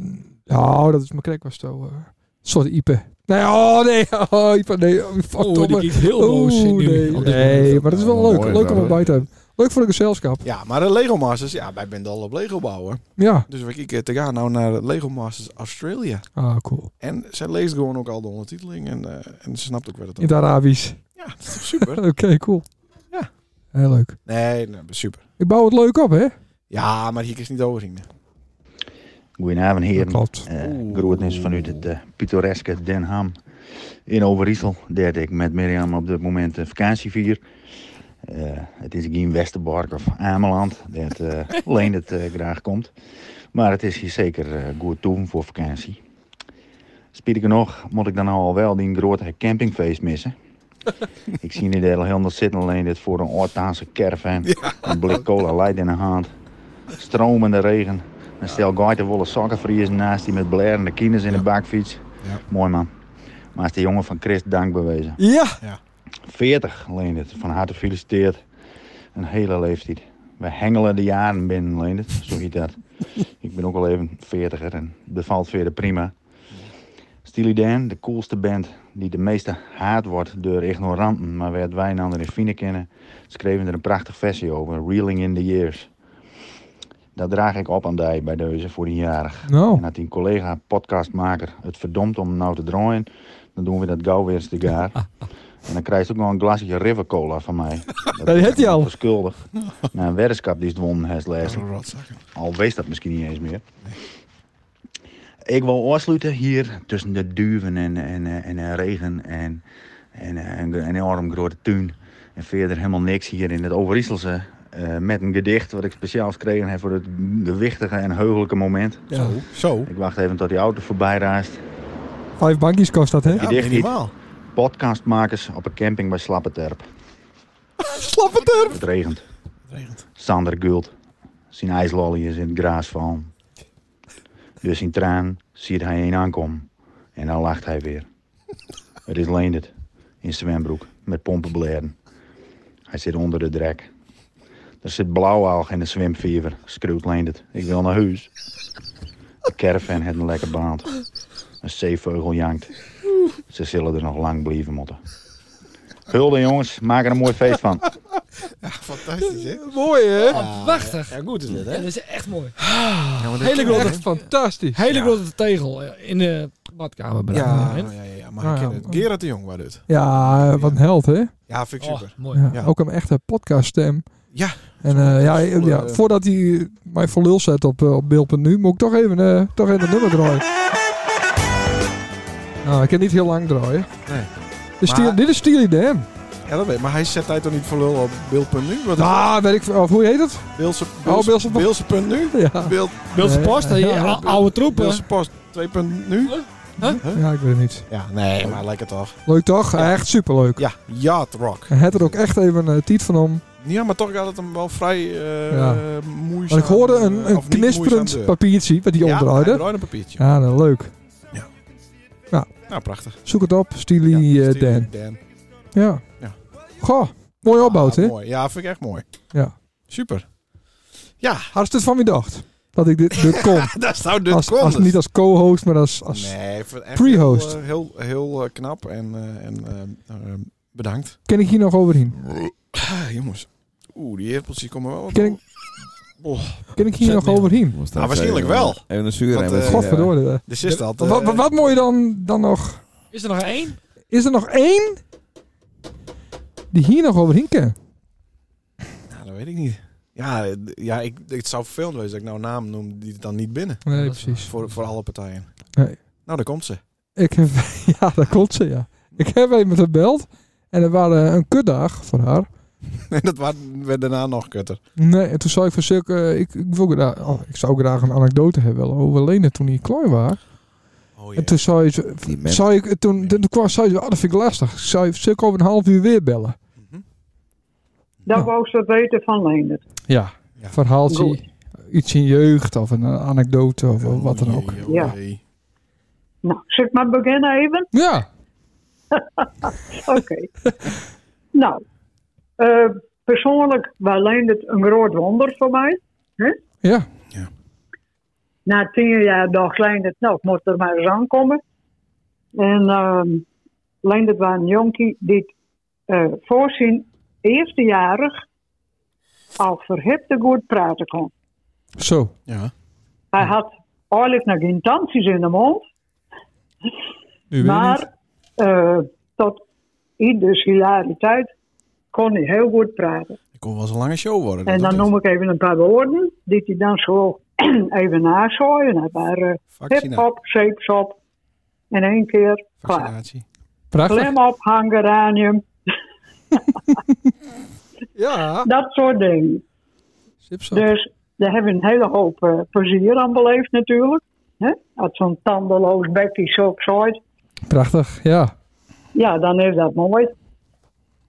Speaker 1: nou, dat is mijn krek was zo. eh, soort Ipe. Nee, oh nee, oh Ipe, nee. Oh, fuck,
Speaker 4: Oh,
Speaker 1: domme.
Speaker 4: die klinkt heel boos
Speaker 1: Oeh,
Speaker 4: nu.
Speaker 1: nee,
Speaker 4: Op dit
Speaker 1: nee,
Speaker 4: moment.
Speaker 1: maar dat is wel
Speaker 4: Ja,
Speaker 1: leuk.
Speaker 4: mooi,
Speaker 1: leuk om
Speaker 4: wel.
Speaker 1: erbij te hebben. Leuk voor de gezelschap.
Speaker 2: Ja, maar de Lego Masters, ja, wij zijn dol op Lego bouwen.
Speaker 1: Ja.
Speaker 2: Dus we kijken te gaan nou naar de Lego Masters Australia.
Speaker 1: Ah, cool.
Speaker 2: En zij leest gewoon ook al de ondertiteling en, eh, en ze snapt ook wat het
Speaker 1: In het Arabisch.
Speaker 2: Ja, dat is toch super?
Speaker 1: Oké, cool.
Speaker 2: Ja.
Speaker 1: Heel leuk.
Speaker 2: Nee, nee, super.
Speaker 1: Ik bouw het leuk op, hè?
Speaker 2: Ja, maar hier is niet overzien.
Speaker 22: Goedenavond, heren. Eh, groetnis vanuit het eh, pittoreske Den Ham in Overijssel. Daar ik met Mirjam op dit moment een vakantie vier. Eh, het is geen Westerbork of Ameland, dat eh alleen het eh, graag komt. Maar het is hier zeker eh, goed toe voor vakantie. Spier nog, moet ik dan al wel die grote campingfeest missen? ik zie niet heel heel zitten, alleen dit voor een Ortaanse caravan. Een blik cola light in de hand. Stromende regen. Een stel gaiten wollen sokken vriezen naast die met blerende kinders in de bakfiets. Mooi man. Maar is de jongen van Christ dank bewezen.
Speaker 1: Ja.
Speaker 22: 40 Leendert, van harte gefeliciteerd. Een hele leeftijd. We hengelen de jaren binnen Leendert, zo heet dat. Ik ben ook al even 40er en dat valt verder prima. Steely Dan, de coolste band die de meeste haat wordt door ignoranten, maar werd wij en anderen in Fine kennen, schreven er een prachtig versie over, Reeling in the Years. Dat draag ik op aan die bij deze voor die jarig.
Speaker 1: Nou.
Speaker 22: En had die collega podcastmaker het verdomd om nou te draaien, dan doen we dat gauw weer eens te gaar. En dan krijg je ook nog een glasje River Cola van mij.
Speaker 1: Dat heeft hij al.
Speaker 22: Schuldig. Na een weddenschap die is gewonnen heeft lezen. Al wees dat misschien niet eens meer. Ik wil afsluiten hier tussen de duiven en, en, eh, en, eh, regen en, en, eh, een, een enorm grote tuin. En verder helemaal niks hier in het Overijsselse. eh, met een gedicht wat ik speciaal gekregen heb voor het gewichtige en heugelijke moment.
Speaker 1: Ja. Zo,
Speaker 22: Ik wacht even tot die auto voorbij raast.
Speaker 1: Vijf bankjes kost dat, hè?
Speaker 22: Gedicht heet Podcastmakers op een camping bij Slappeterp.
Speaker 1: Slappeterp!
Speaker 22: Het regent. Sander Gult. Zijn ijslolly is in het graas van. Dus zijn traan ziet hij een aankomen. En dan lacht hij weer. Het is Leendert. In zwembroek. Met pompenblaren. Hij zit onder de drek. Er zit blauwalg in de zwemfever. Schreeuwt Leendert. Ik wil naar huis. De caravan heeft een lekker baant. Een zeevogel jankt. Ze zullen er nog lang blijven moeten. Hulde jongens, maak er een mooi feest van.
Speaker 2: Fantastisch, hè?
Speaker 1: Mooi, hè?
Speaker 3: Prachtig.
Speaker 2: Ja, goed is dit, hè?
Speaker 3: Ja, dat is echt mooi.
Speaker 2: maar dit
Speaker 3: Hele
Speaker 2: klinkt
Speaker 3: grote,
Speaker 2: echt
Speaker 1: fantastisch.
Speaker 3: Hele grote tegel eh, in de badkamer.
Speaker 2: Ja,
Speaker 3: bereikt.
Speaker 2: ja, ja, ja, maar ik ken het. Gerard de Jong was dit.
Speaker 1: Ah, Ja, wat een held, hè?
Speaker 2: Ja, vind ik super.
Speaker 1: Ja,
Speaker 2: Ja.
Speaker 1: Ook een echte podcaststem.
Speaker 2: Ja.
Speaker 1: En eh, ja,
Speaker 2: Volle,
Speaker 1: ja,
Speaker 2: eh,
Speaker 1: voordat hij mij voor lul zet op, eh, op beeld.nu, moet ik toch even, eh, toch even het nummer draaien. Nou, ik kan niet heel lang draaien.
Speaker 2: Nee.
Speaker 1: Dit is
Speaker 2: Maar-
Speaker 1: Steely- dit is Steely Dan.
Speaker 2: Ja, dat weet ik. Maar hij zet hij toch niet voor lul op beeld.nu? Wat is
Speaker 1: Ah, weet ik, of hoe heet het?
Speaker 2: Beeldse,
Speaker 1: Oh, Beeldse Post.
Speaker 2: punt nu?
Speaker 1: Ja.
Speaker 2: Beeld,
Speaker 1: Beeldse Nee, Post, hè, ja, ja. ou- oude troepen.
Speaker 2: Beeldse post 2.0 nu? Huh?
Speaker 1: Ja, ik weet het niet.
Speaker 2: Ja, nee, maar lekker toch.
Speaker 1: Leuk toch? Echt superleuk.
Speaker 2: Ja, Yacht Rock.
Speaker 1: Hij had er ook echt even een tiet van om.
Speaker 2: Ja, maar toch gaat het hem wel vrij eh
Speaker 1: Ja.
Speaker 2: moeizaam.
Speaker 1: Maar ik hoorde een,
Speaker 2: eh,
Speaker 1: een
Speaker 2: of niet moeizaam
Speaker 1: knisperend
Speaker 2: deur.
Speaker 1: papiertje wat hij
Speaker 2: ja,
Speaker 1: omdraaide.
Speaker 2: hij draaide een papiertje.
Speaker 1: Ja, nou, leuk.
Speaker 2: Ja.
Speaker 1: Nou,
Speaker 2: Nou, prachtig.
Speaker 1: zoek het op, Steely, eh,
Speaker 2: Steely
Speaker 1: Dan.
Speaker 2: Dan.
Speaker 1: Ja.
Speaker 2: Ja. Ah,
Speaker 1: Goh, mooi opbouwt, hè?
Speaker 2: Mooi. Ja, vind ik echt mooi.
Speaker 1: Ja.
Speaker 2: Super. Ja.
Speaker 1: Had je het van wie dacht? Dat ik dit, dit kon.
Speaker 2: Dat zou dit
Speaker 1: als,
Speaker 2: kon,
Speaker 1: als
Speaker 2: dus.
Speaker 1: Niet als co-host, maar als, als
Speaker 2: Nee, ik vind het echt
Speaker 1: pre-host.
Speaker 2: Heel, eh, heel, heel, eh, knap en, eh, en eh, eh, bedankt.
Speaker 1: Ken ik hier nog overheen?
Speaker 2: Ah, jongens. Oeh, die appeltjes komen wel.
Speaker 1: Ken ik,
Speaker 2: Oh.
Speaker 1: ken ik hier
Speaker 2: Zet
Speaker 1: nog
Speaker 2: niet.
Speaker 1: overheen?
Speaker 2: Nou, waarschijnlijk wel.
Speaker 5: Even een zuur
Speaker 2: Want, eh,
Speaker 1: Godverdomme. eh.
Speaker 2: er zit al,
Speaker 1: Wat, wat,
Speaker 2: eh,
Speaker 1: wat moet je dan, dan nog...
Speaker 3: Is er nog één?
Speaker 1: Is er nog één die hier nog overheen kan?
Speaker 2: Nou, dat weet ik niet. Ja, eh, d- ja ik, het zou vervelend wezen dat ik nou een naam noem die het dan niet binnen.
Speaker 1: Nee, Dat is precies.
Speaker 2: Voor, voor alle partijen.
Speaker 1: Nee.
Speaker 2: Nou, daar komt ze.
Speaker 1: Ik heb, ja, dat klopt ze, ja. Ik heb even gebeld en er waren een kutdag voor haar.
Speaker 2: En dat wa- werd daarna nog kutter.
Speaker 1: Nee, en toen zei ik van Silk, eh, ik, ik, wil graag, oh, ik zou graag een anekdote hebben over Lena toen hij klein was.
Speaker 2: Oh,
Speaker 1: en toen zei ze, zei ik, toen, toen kwam, zei ze, ah, dat vind ik lastig. Ik Zei, Silk over een half uur weer bellen.
Speaker 6: Dat wou ze weten van Leendert.
Speaker 1: Ja.
Speaker 6: Goed.
Speaker 1: Verhaaltje, iets in jeugd of een eh, anekdote of eh, wat dan ook.
Speaker 6: Ja. Nou, zal ik maar beginnen even?
Speaker 1: Ja.
Speaker 6: Oké. nou, eh, persoonlijk was Leendert een groot wonder voor mij. hè?
Speaker 1: Ja.
Speaker 6: Na tien jaar dacht Leendert, nou, ik moet er maar eens aankomen. En ehm Leendert was een jonkie die eh, voor zijn eerste jarig al verhipte goed praten kon.
Speaker 1: Zo.
Speaker 2: Ja.
Speaker 6: Hij had eigenlijk nog geen tandjes in de mond.
Speaker 1: Nu weer niet.
Speaker 6: Maar eh, tot in de hilariteit kon hij heel goed praten.
Speaker 2: Ik kon wel eens een lange show worden.
Speaker 6: en dan noem ik even een paar woorden die hij dan zo even nazooien. Dat waren
Speaker 2: Vaccina-
Speaker 6: hip-hop, zeepsop en één keer klaar.
Speaker 1: Prachtig.
Speaker 6: Klem op, hang geranium.
Speaker 1: ja.
Speaker 6: Dat soort dingen. Dus daar hebben we een hele hoop eh, plezier aan beleefd natuurlijk. hè? Als zo'n tandeloos bekje zo zooit.
Speaker 1: Prachtig, ja.
Speaker 6: Ja, dan is dat mooi.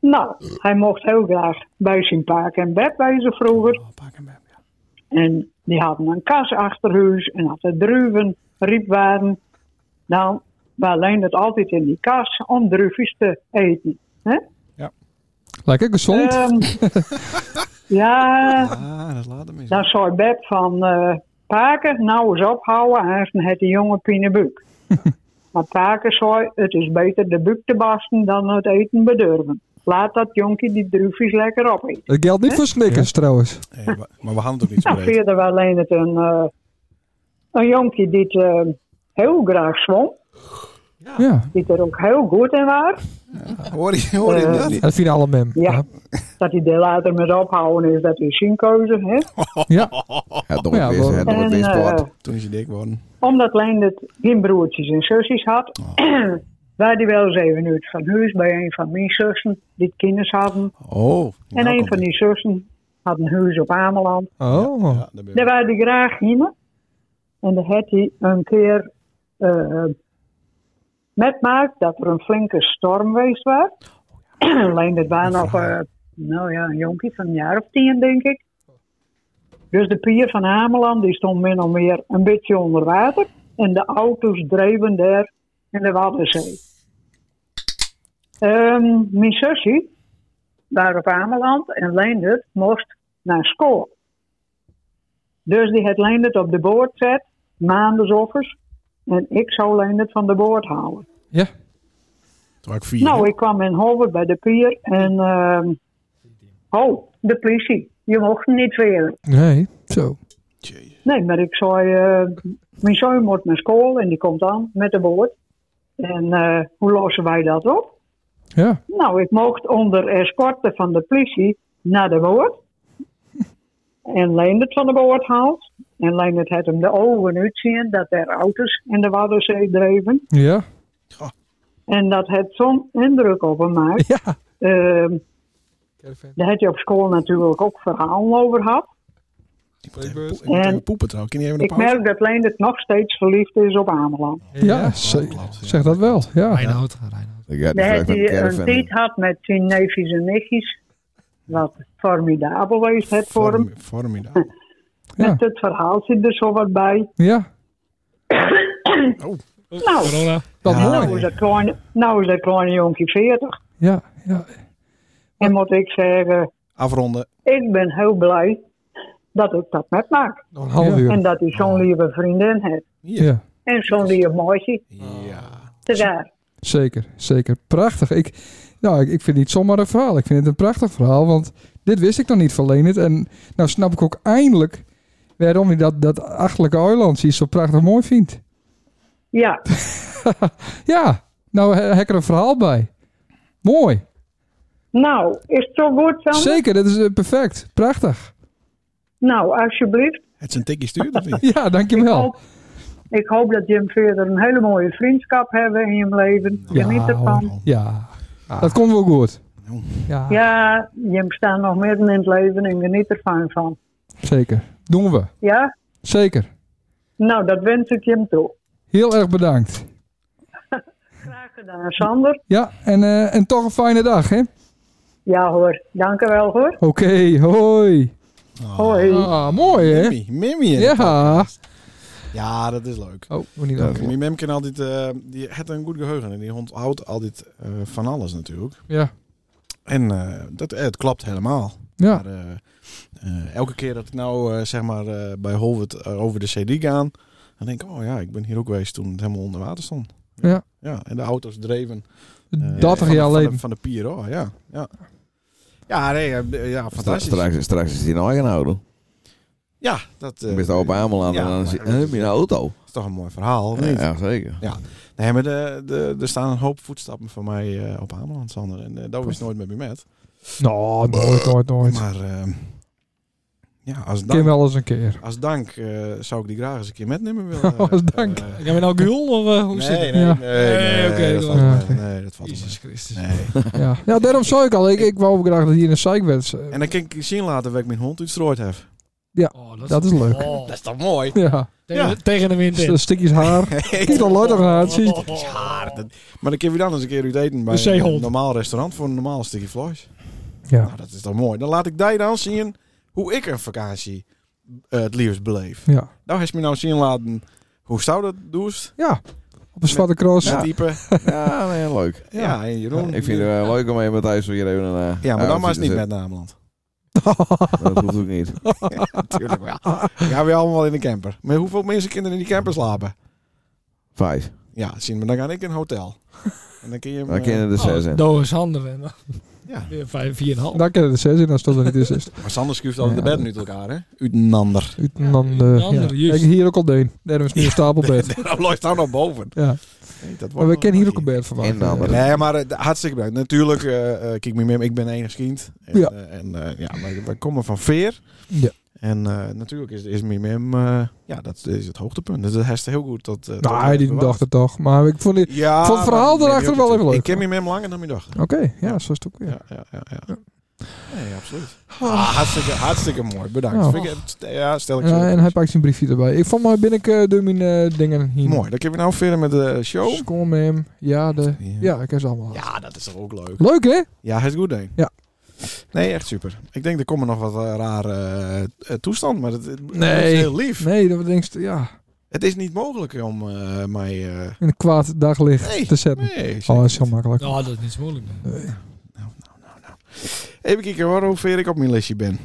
Speaker 6: Nou, hij mocht heel graag bij zijn paak en bed wezen vroeger. En die hadden een kas achter huis en hadden druiven, rietwaren. Nou, we alleen het altijd in die kas om druifjes te eten. Hè?
Speaker 1: Lekker gezond.
Speaker 6: Ehm, ja,
Speaker 2: Ah, dat laat hem
Speaker 6: dan zei Beb van eh Paken, nou eens ophouden, hij heeft een jonge pinebuik. maar Paken zei, het is beter de buik te basten dan het eten bedurven. Laat dat jonkie die druifjes lekker op eten.
Speaker 1: Dat geldt niet
Speaker 6: Hè?
Speaker 1: voor Snickers trouwens.
Speaker 2: Maar we gaan het ook niet zo
Speaker 6: Nou,
Speaker 2: breed.
Speaker 6: verder wel alleen het een, eh, een jonkie die het, eh, heel graag zwom.
Speaker 1: Ja.
Speaker 6: Die er ook heel goed in was. Eh,
Speaker 2: Hoor je,
Speaker 1: hoor
Speaker 6: je dat?
Speaker 1: Dat vinden alle Eh, mem.
Speaker 6: Ja. Dat hij er later met ophouden is, dat is zijn keuze. Hè?
Speaker 1: Ja.
Speaker 2: Het
Speaker 6: nog Ja, het beste, wel. het nog het En, beste eh, woord.
Speaker 2: Toen is je dik geworden.
Speaker 6: Omdat Leendert geen broertjes en zusjes had, waar die wel eens even uit van huis bij een van mijn zussen die kinders hadden.
Speaker 2: Oh.
Speaker 6: en een van die zussen had een huis op Ameland.
Speaker 1: Oh.
Speaker 6: Daar waren die graag heen. En daar had hij een keer eh metmaakt dat er een flinke storm geweest was. Alleen dat waren nog, eh, nou ja, een jonkie van een jaar of tien, denk ik. Dus de pier van Ameland die stond min of meer een beetje onder water. En de auto's dreven daar in de Waddenzee. Ehm, mijn zusje, daar op Ameland, en Leendert moest naar school. Dus die had Leendert op de boord zet, maandensoffers. En ik zou Leendert van de boord halen.
Speaker 2: Toen was ik vier.
Speaker 6: Nou, ik kwam in Hover bij de pier en... ehm, oh, de politie. Je mocht niet verder.
Speaker 1: Nee, zo.
Speaker 6: Nee, maar ik zei... eh, mijn zoon moet naar school en die komt aan met de boord. En eh, hoe lossen wij dat op?
Speaker 1: Ja.
Speaker 6: Nou, ik mocht onder escorte van de politie naar de boord. En Leendert van de boord haalt. En Leendert had hem de ogen uitzien dat er auto's in de Waddenzee dreven.
Speaker 1: Ja.
Speaker 6: En dat het zo'n indruk op hem maakt. Ehm,
Speaker 1: Ja.
Speaker 6: daar had je op school natuurlijk ook verhalen over gehad.
Speaker 2: Ik moet even, ik moet
Speaker 6: En-
Speaker 2: even poepen trouwens. Kun je even een
Speaker 6: Ik
Speaker 2: pauze?
Speaker 6: merk dat Leendert nog steeds verliefd is op Ameland.
Speaker 1: Ja, ze- zeg dat wel. Ja. Reinhold.
Speaker 6: Daar had hij een tijd had met zijn neefjes en nichtjes. Wat formidabel was het voor hem.
Speaker 2: Formidabel.
Speaker 6: Met het verhaal zit er zo wat bij.
Speaker 1: Ja.
Speaker 6: nou,
Speaker 1: Dat mooi.
Speaker 6: nou, is dat kleine, nou is dat kleine jonkie 40.
Speaker 1: Ja,
Speaker 6: En moet ik zeggen,
Speaker 2: Afronden.
Speaker 6: ik ben heel blij dat ik dat met maak.
Speaker 1: een half uur.
Speaker 6: En dat hij zo'n lieve vriendin heeft.
Speaker 1: Ja.
Speaker 6: En zo'n lief meisje. Ja. Daar.
Speaker 1: Zeker, zeker. Prachtig. Ik, nou, ik, ik vind het niet zomaar een verhaal. Ik vind het een prachtig verhaal, want dit wist ik nog niet van Leendert. En nou snap ik ook eindelijk waarom hij dat, dat achterlijke Oiland zo prachtig mooi vindt.
Speaker 6: Ja.
Speaker 1: ja, nou he- hek er een verhaal bij. Mooi.
Speaker 6: Nou, is het zo goed, Sander?
Speaker 1: Zeker, dat is eh, perfect. Prachtig.
Speaker 6: Nou, alsjeblieft.
Speaker 2: Het zijn tikkie stuurt of niet?
Speaker 1: Ja, dankjewel.
Speaker 6: Ik hoop dat Jim verder een hele mooie vriendschap hebben in je leven. Geniet ervan.
Speaker 1: Ja, dat komt wel goed. Ja,
Speaker 6: Ja, Jim staat nog midden in het leven en geniet ervan van.
Speaker 1: zeker. Doen we.
Speaker 6: Ja?
Speaker 1: Zeker.
Speaker 6: Nou, dat wens ik Jim toe.
Speaker 1: Heel erg bedankt.
Speaker 6: Graag gedaan, Sander.
Speaker 1: Ja, en, eh, en toch een fijne dag, hè?
Speaker 6: Ja hoor, dank u wel hoor.
Speaker 1: Oké, hoi.
Speaker 6: Hoi.
Speaker 1: Ah, mooi hè?
Speaker 2: Mimmy, Mimmy in de
Speaker 1: Ja.
Speaker 2: Ja, dat is leuk.
Speaker 1: Oh, moet niet werken.
Speaker 2: Mijn mem kan altijd... eh, die heeft een goed geheugen en die hond houdt altijd eh, van alles natuurlijk.
Speaker 1: Ja.
Speaker 2: En eh, dat, eh, het klopt helemaal.
Speaker 1: Ja.
Speaker 2: Maar, eh, eh, elke keer dat ik nou eh, zeg maar eh, bij Holwert eh, over de CD gaan, dan denk ik, oh ja, ik ben hier ook geweest toen het helemaal onder water stond.
Speaker 1: Ja.
Speaker 2: Ja, en de auto's dreven. eh,
Speaker 1: 30
Speaker 2: van de-
Speaker 1: jaar
Speaker 2: van de-
Speaker 1: geleden.
Speaker 2: Van de pier, oh ja. Ja, ja nee, eh, ja,
Speaker 5: Straks,
Speaker 2: fantastisch.
Speaker 5: straks, straks is die nog eigen auto.
Speaker 2: Ja, dat eh,
Speaker 5: Dan ben je op Ameland
Speaker 2: ja,
Speaker 5: en dan
Speaker 2: maar
Speaker 5: zit
Speaker 2: dat is-
Speaker 5: je een auto.
Speaker 2: is toch een mooi verhaal, of
Speaker 5: Ja,
Speaker 2: niet?
Speaker 5: ja, zeker.
Speaker 2: Ja. Nee, maar de, de, er staan een hoop voetstappen van mij eh, op Ameland, Sander. En eh, dat was nooit met me met.
Speaker 1: Nou, nooit, nooit, nooit.
Speaker 2: Maar eh, ja, als dank...
Speaker 1: Kim wel eens een keer.
Speaker 2: Als dank eh, zou ik die graag eens een keer metnemen willen.
Speaker 1: Als dank.
Speaker 2: Gaan we nou gul of hoe
Speaker 1: zit
Speaker 2: nee,
Speaker 1: het?
Speaker 2: nee,
Speaker 1: Ja.
Speaker 2: Nee, nee,
Speaker 1: Nee, oké,
Speaker 2: dat
Speaker 1: dat
Speaker 2: valt
Speaker 1: was-
Speaker 2: wel mee. Nee, dat valt Jezus
Speaker 3: Christus.
Speaker 2: Nee.
Speaker 1: Ja. ja, daarom zei ik al. Ik, ik wou ook graag dat hier in de psych werd.
Speaker 2: En dan kan ik zien later waar ik mijn hond uitstrooid heb.
Speaker 1: Ja, Oh, dat, is leuk.
Speaker 2: Oh, Dat is toch mooi?
Speaker 1: Ja.
Speaker 2: Tegen- tegen de wind in.
Speaker 1: St- Stukjes haar. Kijk dan nooit nog haar. Zie je.
Speaker 2: Ja, Oh, dat- maar dan kun je dan eens een keer uit eten bij
Speaker 1: Een zeehond.
Speaker 2: een normaal restaurant voor een normaal stukje vlees.
Speaker 1: Ja.
Speaker 2: Nou, dat is toch mooi. Dan laat ik daar dan zien hoe ik een vakantie eh, het liefst beleef.
Speaker 1: Ja.
Speaker 2: Nou, heeft me nou zien laten hoe zou dat doest.
Speaker 1: Ja. Op een zwarte cross.
Speaker 2: Met type.
Speaker 5: Ja, nee, leuk.
Speaker 2: Ja, en Jeroen.
Speaker 5: Ik vind het eh, leuk om even Matthijs hier even een eh,
Speaker 2: Ja, maar dan
Speaker 5: avondje
Speaker 2: maar eens
Speaker 5: te
Speaker 2: niet met
Speaker 5: zetten.
Speaker 2: Nameland.
Speaker 5: Dat hoeft ook niet.
Speaker 2: Natuurlijk wel. Dan gaan we allemaal in de camper. Maar hoeveel mensen kinderen in die camper slapen?
Speaker 5: Vijf.
Speaker 2: Ja, zien, maar dan ga ik in een hotel. En dan kun je hem... eh,
Speaker 5: Dan kennen de zes in.
Speaker 3: Oh, Doe eens handen. hè.
Speaker 2: Ja.
Speaker 3: Weer vijf, vier en een half.
Speaker 1: Daar kennen de zes in als dat er niet is. is.
Speaker 2: Maar Sander schuift altijd de
Speaker 1: Ja.
Speaker 2: bed nu uit elkaar, hè? Utenander.
Speaker 1: Utenander, ja.
Speaker 2: Utenander,
Speaker 1: Kijk,
Speaker 2: juist.
Speaker 1: hier ook al deen. Daarom is nu een stapelbed.
Speaker 2: Dat loopt daar nog boven.
Speaker 1: Ja.
Speaker 2: Nee, dat
Speaker 1: Maar
Speaker 2: wordt
Speaker 1: we kennen hier ook een bed van maken.
Speaker 2: Nee, maar eh, hartstikke bedankt. Natuurlijk, eh, eh, kijk me mee, ik ben enig kind. En,
Speaker 1: Ja.
Speaker 2: eh, en eh, ja, wij, wij komen van Veer.
Speaker 1: Ja.
Speaker 2: En eh, natuurlijk is, is Mimim, ja, dat is het hoogtepunt. Dus dat heeft heel goed tot... eh, tot
Speaker 1: Nou, die
Speaker 2: hebben
Speaker 1: dacht het toch. Maar ik vond, die,
Speaker 2: Ja,
Speaker 1: ik vond het
Speaker 2: maar
Speaker 1: verhaal
Speaker 2: Mimim
Speaker 1: erachter
Speaker 2: ook
Speaker 1: wel even
Speaker 2: natuurlijk.
Speaker 1: leuk.
Speaker 2: Ik ken Mimim langer dan ik dacht.
Speaker 1: Oké, ja, zo is het ook weer.
Speaker 2: Ja, ja, ja. ja. Nee, absoluut. Ah, hartstikke, hartstikke mooi. Bedankt.
Speaker 1: Nou.
Speaker 2: Vind ik, het- ja, stel ik zo.
Speaker 1: Ja, en hij pakt zijn briefje erbij. Ik vond maar binnen ik eh, door mijn eh, dingen hier.
Speaker 2: Mooi, dan kunnen we nou verder met de show.
Speaker 1: School met hem. Ja, de, ja, ik heb ze allemaal.
Speaker 2: Ja, dat is toch ook leuk.
Speaker 1: Leuk, hè?
Speaker 2: Ja, het is goed, hè?
Speaker 1: Ja.
Speaker 2: Nee, echt super. Ik denk, er komen nog wat eh, rare eh, eh, toestand, maar het, het- het
Speaker 1: Nee.
Speaker 2: is heel lief.
Speaker 1: Nee, dat denk je, ja.
Speaker 2: Het is niet mogelijk om eh, mij... eh,
Speaker 1: In een kwaad daglicht
Speaker 2: Nee,
Speaker 1: te zetten.
Speaker 2: nee,
Speaker 1: oh,
Speaker 2: zeker
Speaker 1: dat is heel makkelijk.
Speaker 3: Nou, dat is niet zo moeilijk.
Speaker 2: even kijken hoor, hoe ver ik op mijn lesje ben.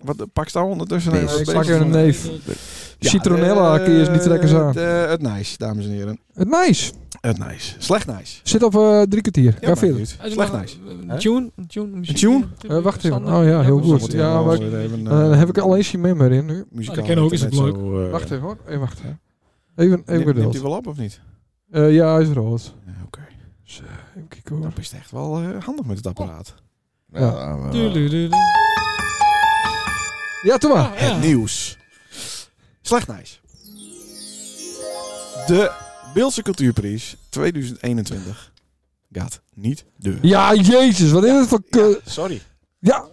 Speaker 2: Wat eh, pak staan ondertussen?
Speaker 1: Nee, ik pak een neef. Citronella
Speaker 2: Citronella
Speaker 1: kun je eens niet trekken zo.
Speaker 2: Het, eh, het nice, dames en heren.
Speaker 1: Het nice.
Speaker 2: Het nice. Slecht nice.
Speaker 1: Zit op eh, drie kwartier. Ja,
Speaker 2: maakt
Speaker 1: verder.
Speaker 2: niet uit. Slecht nice.
Speaker 4: eh, Een tune? Een tune?
Speaker 2: Een tune?
Speaker 1: Eh, wacht even. Oh ja, heel goed. Ja, maar ik- eh, dan heb ik alleen Shimember in nu.
Speaker 2: Muzikaal Ah, die kennen ook, is het internet leuk. zo, eh,
Speaker 1: wacht even hoor. Even wachten. Even, even geduld.
Speaker 2: Neemt hij wel op of niet?
Speaker 1: Eh, ja, hij is rood.
Speaker 2: Ja, Oké.
Speaker 1: Dus, eh, even kijken hoor.
Speaker 2: Dat is echt wel eh, handig met het apparaat. eh,
Speaker 1: Ja.
Speaker 3: Tuurlijk.
Speaker 1: Ja, toen maar.
Speaker 2: Het nieuws. Slecht nice. De Beeldse Cultuurprijs 2021 gaat niet deur.
Speaker 1: Ja, jezus. Wat is het voor... ke-
Speaker 2: Sorry.
Speaker 1: Ja.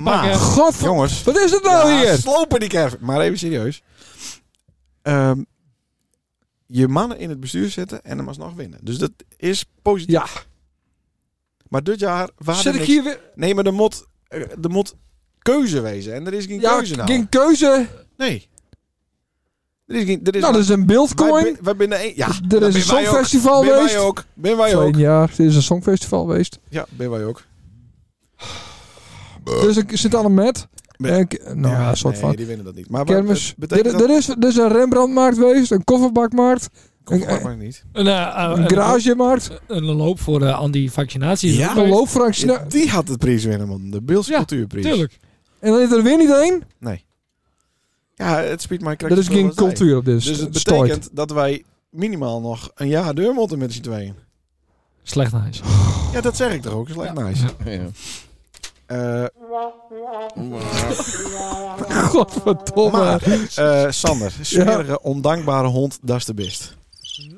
Speaker 2: Maar,
Speaker 1: Godver-
Speaker 2: jongens.
Speaker 1: Wat is het nou
Speaker 2: Ja,
Speaker 1: hier?
Speaker 2: Slopen die kerf. Maar even serieus. Ehm, je mannen in het bestuur zetten en dan mag nog winnen. Dus dat is positief.
Speaker 1: Ja.
Speaker 2: Maar dit jaar... waren
Speaker 1: Zit ik
Speaker 2: niks-
Speaker 1: hier weer-
Speaker 2: Nee, maar er moet, eh, er moet keuze wezen. En er is geen
Speaker 1: Ja,
Speaker 2: keuze nou.
Speaker 1: geen keuze.
Speaker 2: Nee. Er is geen, er is
Speaker 1: Nou, dat is een
Speaker 2: Wij,
Speaker 1: beeldcoin.
Speaker 2: ben- wij binnen één... Ja, dat
Speaker 1: Er is een
Speaker 2: ben wij ook.
Speaker 1: songfestival
Speaker 2: Ben
Speaker 1: geweest.
Speaker 2: wij ook. Ben wij ook.
Speaker 1: Vorig jaar er is een songfestival geweest.
Speaker 2: Ja, ben wij ook.
Speaker 1: Dus ik zit aan een met. En ik- nou ja, een soort
Speaker 2: nee,
Speaker 1: van.
Speaker 2: die winnen dat niet. Maar wat-
Speaker 1: kermis.
Speaker 2: het betekent
Speaker 1: Er,
Speaker 2: dat-
Speaker 1: er is, er is een Rembrandtmarkt geweest, een kofferbakmarkt.
Speaker 2: Kofferbak
Speaker 1: een,
Speaker 2: maar niet.
Speaker 3: Een, eh,
Speaker 1: Een garagemarkt.
Speaker 3: Een loop voor eh, de anti-vaccinatie.
Speaker 2: Ja.
Speaker 1: een loopfractie. Nou,
Speaker 2: Die had het prijs winnen, man. De Beeldse Cultuurprijs.
Speaker 3: Tuurlijk.
Speaker 1: En dan is er weer niet één.
Speaker 2: Nee. Ja, het spiet mij
Speaker 1: Er is geen cultuur op dit
Speaker 2: Dus het
Speaker 1: stort.
Speaker 2: betekent dat wij minimaal nog een jaar deur moeten met z'n tweeën.
Speaker 3: Slecht nice.
Speaker 2: Ja, dat zeg ik toch ook. Is like nice. Eh,
Speaker 1: Godverdomme.
Speaker 2: maar, eh, Sander, smerige, ondankbare hond, dat is de best.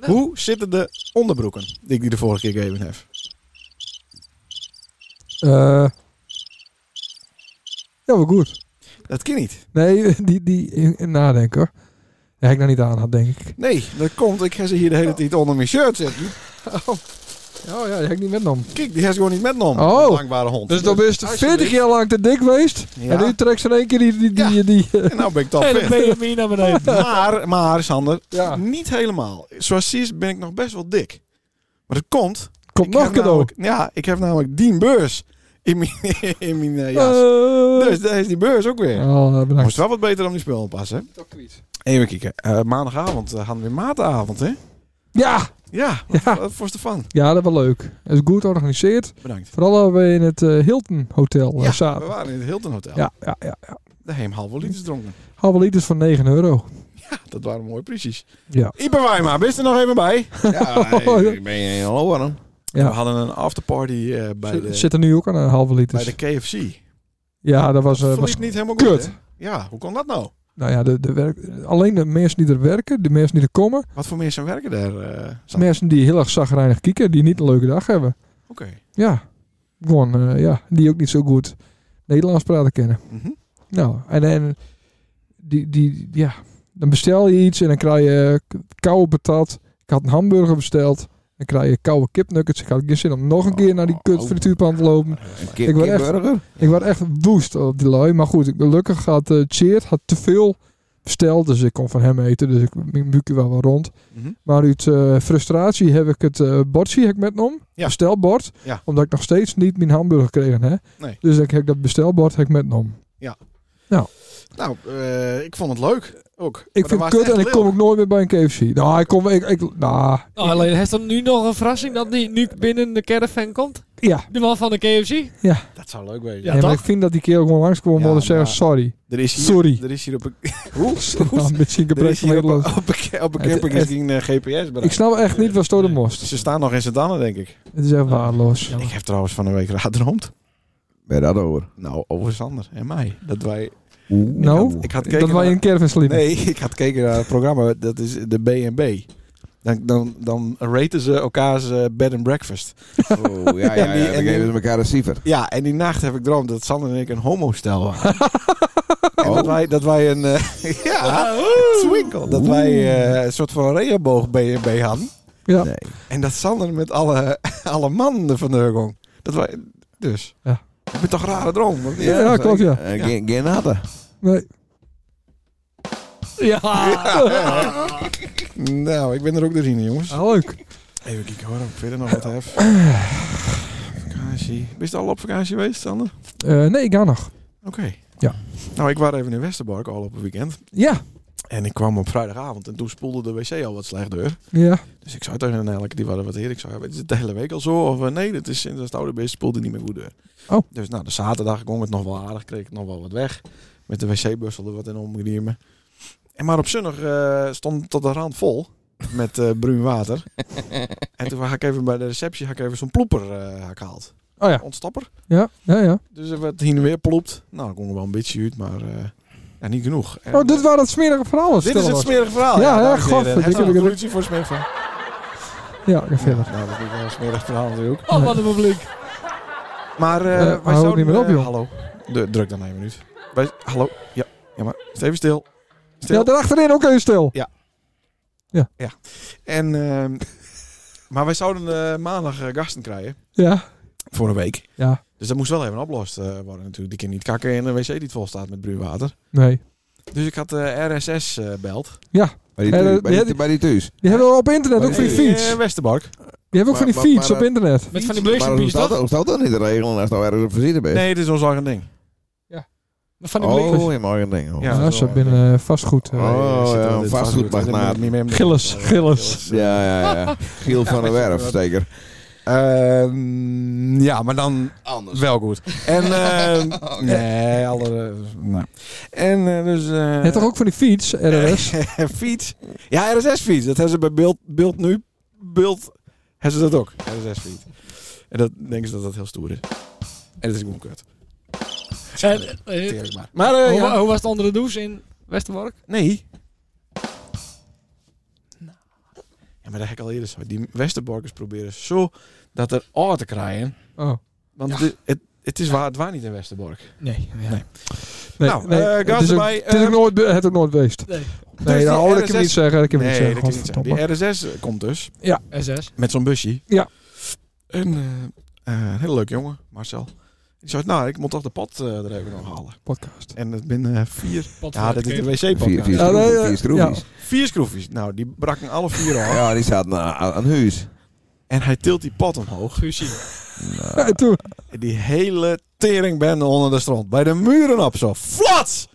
Speaker 1: Nou.
Speaker 2: Hoe zitten de onderbroeken die ik die de vorige keer gegeven heb?
Speaker 1: Eh, ja, wel goed.
Speaker 2: Dat kan niet.
Speaker 1: Nee, die, die in, in nadenken hoor. Ja, ik nou niet aan had, denk ik.
Speaker 2: Nee, dat komt. Ik ga ze hier de hele tijd onder mijn shirt zitten.
Speaker 1: Oh ja, die heb ik niet metnomen.
Speaker 2: Kijk, die heeft gewoon niet metnomen.
Speaker 1: Oh.
Speaker 2: Ondankbare hond.
Speaker 1: Dus dan is het 40 jaar lang te dik geweest.
Speaker 2: Ja.
Speaker 1: En nu trekt ze in één keer die... die, die, die,
Speaker 2: En nou ben ik top
Speaker 1: En
Speaker 2: fit.
Speaker 3: Benjamin naar beneden.
Speaker 2: Maar, maar Sander, niet helemaal. Zoals je ziet ben ik nog best wel dik. Maar dat komt.
Speaker 1: Komt
Speaker 2: ik
Speaker 1: nog
Speaker 2: heb
Speaker 1: cadeau.
Speaker 2: namelijk- Ja, ik heb namelijk die beurs in mijn, in mijn eh, jas.
Speaker 1: Eh.
Speaker 2: Dus daar is die beurs ook weer.
Speaker 1: Oh, bedankt.
Speaker 2: Moest wel wat beter om die spullen te passen. hè? Even kijken. Eh, maandagavond eh, hadden we weer matenavond, hè?
Speaker 1: Ja!
Speaker 2: Ja, wat, ja. wat vond je ervan?
Speaker 1: Ja, dat was leuk. Het is goed georganiseerd.
Speaker 2: Bedankt.
Speaker 1: Vooral dat we in het eh, Hilton Hotel eh,
Speaker 2: we
Speaker 1: zaten.
Speaker 2: waren in het Hilton Hotel.
Speaker 1: Ja, ja, ja. ja.
Speaker 2: De heem halve liters dronken.
Speaker 1: Halve liters van 9 euro.
Speaker 2: Ja, dat waren mooie precies.
Speaker 1: Ja.
Speaker 2: Ipe Weimar, bist er nog even bij? Ja,
Speaker 1: ik
Speaker 2: ben je in hallo aan
Speaker 1: Ja.
Speaker 2: We hadden een afterparty eh, bij, de,
Speaker 1: Zit- Zit er nu ook aan een halve
Speaker 2: bij
Speaker 1: liters.
Speaker 2: de KFC.
Speaker 1: Ja, dat was, eh,
Speaker 2: Dat
Speaker 1: was
Speaker 2: verliep niet helemaal goed,
Speaker 1: kut.
Speaker 2: hè? Ja, hoe kon dat nou?
Speaker 1: nou ja, de, de werk, alleen de mensen die er werken, de mensen die er komen.
Speaker 2: Wat voor mensen werken daar? eh Sander?
Speaker 1: Mensen die heel erg zagrijnig kieken, die niet een leuke dag hebben.
Speaker 2: Oké.
Speaker 1: Ja, gewoon, eh, ja, die ook niet zo goed Nederlands praten kennen.
Speaker 2: Mhm.
Speaker 1: Nou, en, en die, die, ja, dan bestel je iets en dan krijg je eh, k- koude patat. Ik had een hamburger besteld. Dan krijg je koude kipnuggets. Ik had geen zin om nog een keer
Speaker 2: Oh,
Speaker 1: naar die kut frituurpan te lopen.
Speaker 5: kip-
Speaker 1: ik, word echt,
Speaker 5: kipburger?
Speaker 1: ik word echt woest op die lui. Maar goed, ik, gelukkig had eh Cheert had te veel besteld. Dus ik kon van hem eten. Dus ik mijn buikje wel wat rond.
Speaker 2: Mhm.
Speaker 1: Maar uit eh, frustratie heb ik het eh, bordje heb ik metnom.
Speaker 2: Ja.
Speaker 1: Bestelbord.
Speaker 2: Ja.
Speaker 1: Omdat ik nog steeds niet mijn hamburger kreeg. Hè?
Speaker 2: Nee.
Speaker 1: Dus Nou, ik heb dat bestelbord heb ik metnom.
Speaker 2: Ja.
Speaker 1: Nou,
Speaker 2: Nou, eh, ik vond het leuk. Ook. Maar
Speaker 1: Ik
Speaker 2: dan
Speaker 1: vind
Speaker 2: was
Speaker 1: het kut
Speaker 2: echt
Speaker 1: en ik
Speaker 2: leuk.
Speaker 1: kom ook nooit meer bij een KFC. Nou, ik kom... Ik, ik, nou,
Speaker 3: Oh, alleen, heeft er nu nog een verrassing dat die nu binnen de caravan komt?
Speaker 1: Ja.
Speaker 3: De man van de KFC?
Speaker 1: ja.
Speaker 2: Dat zou leuk wezen.
Speaker 1: Ja, maar ik vind dat die kerel gewoon langskwam om te zeggen sorry.
Speaker 2: Er is hier,
Speaker 1: sorry.
Speaker 2: Er is hier op een... Hoe?
Speaker 1: Nou, een beetje een
Speaker 2: Er
Speaker 1: gebrek
Speaker 2: is
Speaker 1: van
Speaker 2: hier op,
Speaker 1: Nederland.
Speaker 2: op, een- op een
Speaker 1: Het-
Speaker 2: camping
Speaker 1: het-
Speaker 2: is geen eh, GPS bereik.
Speaker 1: Ik snap echt niet wat Sto de Most.
Speaker 2: Ze staan nog in Santana, denk ik.
Speaker 1: Het is echt waardeloos.
Speaker 2: Ik heb trouwens van een week raad droomd.
Speaker 5: Bij dat over.
Speaker 2: Nou, over Sander en mij. Dat wij...
Speaker 1: Nou, dat wij in een caravan sliepen.
Speaker 2: Nee, ik had gekeken naar het programma. Dat is de B&B. Dan, dan, dan raten ze elkaars eh, bed and breakfast.
Speaker 5: Oh, ja, ja, ja. Dan geven ze elkaar een cijfer.
Speaker 2: Ja, en die nacht heb ik droomd dat Sander en ik een homostel waren. En dat wij, dat wij een... eh, ja, twinkel. Dat wij eh, een soort van regenboog B&B hadden.
Speaker 1: Ja.
Speaker 2: En dat Sander met alle, alle mannen van de gong. Dat wij... Dus.
Speaker 1: Ja.
Speaker 2: Ik ben toch een rare droom. want-
Speaker 1: Ja, ja, klopt, ja.
Speaker 5: Eh, Geen geen hadden.
Speaker 1: Nee.
Speaker 3: Ja.
Speaker 2: nou, ik ben er ook doorheen, jongens.
Speaker 1: leuk.
Speaker 2: Even kijken hoor, of ik verder nog wat heb. vakantie. Ben je al op vakantie geweest, Sander?
Speaker 1: Eh, nee, ik ga nog.
Speaker 2: Oké.
Speaker 1: Ja.
Speaker 2: Nou, ik was even in Westerbork al op een weekend.
Speaker 1: Ja.
Speaker 2: En ik kwam op vrijdagavond en toen spoelde de wc al wat slecht deur.
Speaker 1: Ja.
Speaker 2: Dus ik zei tegen Nelke, die waren wat heer. Ik zei, ja, is het de hele week al zo? Of eh, nee, dat is sinds dat het oude beest spoelde niet meer goed deur.
Speaker 1: Oh.
Speaker 2: Dus nou, de zaterdag kon het nog wel aardig, kreeg ik nog wel wat weg. Met de wc-bussel er wat in omgeriemen. En maar op zondag eh, stond het tot de rand vol met eh bruin water. en toen had ik even bij de receptie had ik even zo'n ploeper eh, had ik gehaald.
Speaker 1: Oh ja.
Speaker 2: Ontstapper.
Speaker 1: Ja, ja, ja.
Speaker 2: Dus er werd hier en weer ploept. Nou, dan kon er wel een beetje uit, maar eh, ja, niet genoeg. En- eh,
Speaker 1: Oh, dit waren het smerige verhaal. wat
Speaker 2: dit is
Speaker 1: vertellen
Speaker 2: het
Speaker 1: was.
Speaker 2: smerige verhaal.
Speaker 1: Ja, ja,
Speaker 2: dames en
Speaker 1: god.
Speaker 2: heren. Het
Speaker 1: Ik
Speaker 2: is
Speaker 1: heb
Speaker 2: een
Speaker 1: ik het-
Speaker 2: politie voor smerig verhaal.
Speaker 1: Ja, ik ga verder.
Speaker 2: Nou, dat is wel een smerig verhaal natuurlijk.
Speaker 3: Oh, wat een publiek.
Speaker 2: Maar eh,
Speaker 1: Eh, hou
Speaker 2: wij
Speaker 1: het
Speaker 2: zouden...
Speaker 1: niet meer op,
Speaker 2: eh,
Speaker 1: joh.
Speaker 2: hallo. De- druk dan even minuut. Wij, hallo. Ja. ja, maar steven stil.
Speaker 1: Ja, daarachterin ook even stil.
Speaker 2: Ja.
Speaker 1: Ja.
Speaker 2: Ja. En, ehm, maar wij zouden eh, maandag eh, gasten krijgen.
Speaker 1: Ja.
Speaker 2: Voor een week.
Speaker 1: Ja.
Speaker 2: Dus dat moest wel even opgelost eh, worden natuurlijk. Die kan niet kakken in een wc die het vol staat met bruinwater.
Speaker 1: Nee.
Speaker 2: Dus ik had eh, RSS eh beld.
Speaker 1: Ja.
Speaker 5: Bij die
Speaker 1: Eh,
Speaker 5: thuis-
Speaker 1: die-
Speaker 5: bij die- bij die thuis.
Speaker 1: Die hebben we op internet, ook voor die
Speaker 2: Nee,
Speaker 1: fiets.
Speaker 2: eh, Westerbork.
Speaker 1: Die hebben we ook voor die fiets op internet.
Speaker 5: Maar hoe staat dat- hoe staat dat niet te regelen als nou ergens op visite bent?
Speaker 2: Nee, het is ons eigen ding.
Speaker 3: Van
Speaker 1: die blikjes.
Speaker 5: Oh, in mijn eigen ding.
Speaker 1: Ja, ze binnen eh, vastgoed. eh,
Speaker 5: Oh,
Speaker 1: zitten
Speaker 5: ja,
Speaker 1: in
Speaker 5: een
Speaker 1: dit
Speaker 5: vastgoedmagnaat.
Speaker 2: Niet meer met-
Speaker 1: Gilles, Gilles.
Speaker 5: Ja, ja, ja. Giel van der Werf, zeker.
Speaker 2: Ehm, ja, maar dan
Speaker 5: Anders.
Speaker 2: wel goed. En ehm,
Speaker 5: Oké.
Speaker 2: nee, alle, nee. En eh, dus. eh, Nou,
Speaker 1: Ja, toch ook voor die fiets, RS?
Speaker 2: fiets. Ja, RSS-fiets. Dat hebben ze bij Beeld, beeld nu. Beeld. Hebben ze dat ook? RSS-fiets. En dat denken ze dat dat heel stoer is. En dat is gewoon kut.
Speaker 3: En, eh,
Speaker 2: Teerlijk maar. Maar, eh,
Speaker 3: hoe,
Speaker 2: ja.
Speaker 3: wa- hoe was het onder de douche in Westerbork?
Speaker 2: Nee. Ja, maar dat heb ik al eerder zo. Die Westerborkers proberen zo dat er oor te krijgen.
Speaker 1: Oh.
Speaker 2: Want de- het, het is waar, het waar niet in Westerbork.
Speaker 3: Nee.
Speaker 2: Nee.
Speaker 1: Nee,
Speaker 2: nou,
Speaker 1: nee,
Speaker 2: eh,
Speaker 1: het
Speaker 2: gas
Speaker 1: is ook-
Speaker 2: erbij.
Speaker 1: Het is
Speaker 2: eh, Dus
Speaker 1: ook nooit, be- het ook nooit geweest.
Speaker 3: Nee.
Speaker 1: Nee,
Speaker 2: die
Speaker 1: nou, dat kan
Speaker 2: RSS
Speaker 1: ik niet zeggen. Dat kan ik niet
Speaker 2: nee,
Speaker 1: zeggen.
Speaker 2: dat kan ik niet zeggen.
Speaker 1: Godverdomme.
Speaker 2: Die RSS komt dus.
Speaker 1: Ja.
Speaker 3: SS.
Speaker 2: Met zo'n busje.
Speaker 1: Ja.
Speaker 2: En eh, eh, een hele leuke jongen, Marcel. Die zei, nou, ik moet toch de pot eh, er even nog halen.
Speaker 1: Podcast.
Speaker 2: En het binnen eh, vier...
Speaker 3: Pot
Speaker 2: ja,
Speaker 3: voor
Speaker 2: dat
Speaker 3: de
Speaker 2: is de
Speaker 3: kip.
Speaker 5: Vier-
Speaker 2: wc-podcast.
Speaker 5: vier Ja, schroeven, nee, eh, vier schroefjes. ja.
Speaker 2: Vier schroefjes. Nou, die braken alle vier al.
Speaker 5: Ja, die staat na- aan, aan huis.
Speaker 2: En hij tilt die pot omhoog.
Speaker 3: Guusje.
Speaker 5: Nou.
Speaker 1: Ja, en toen.
Speaker 2: Die hele teringbende onder de stront. Bij de muren op zo. Flats!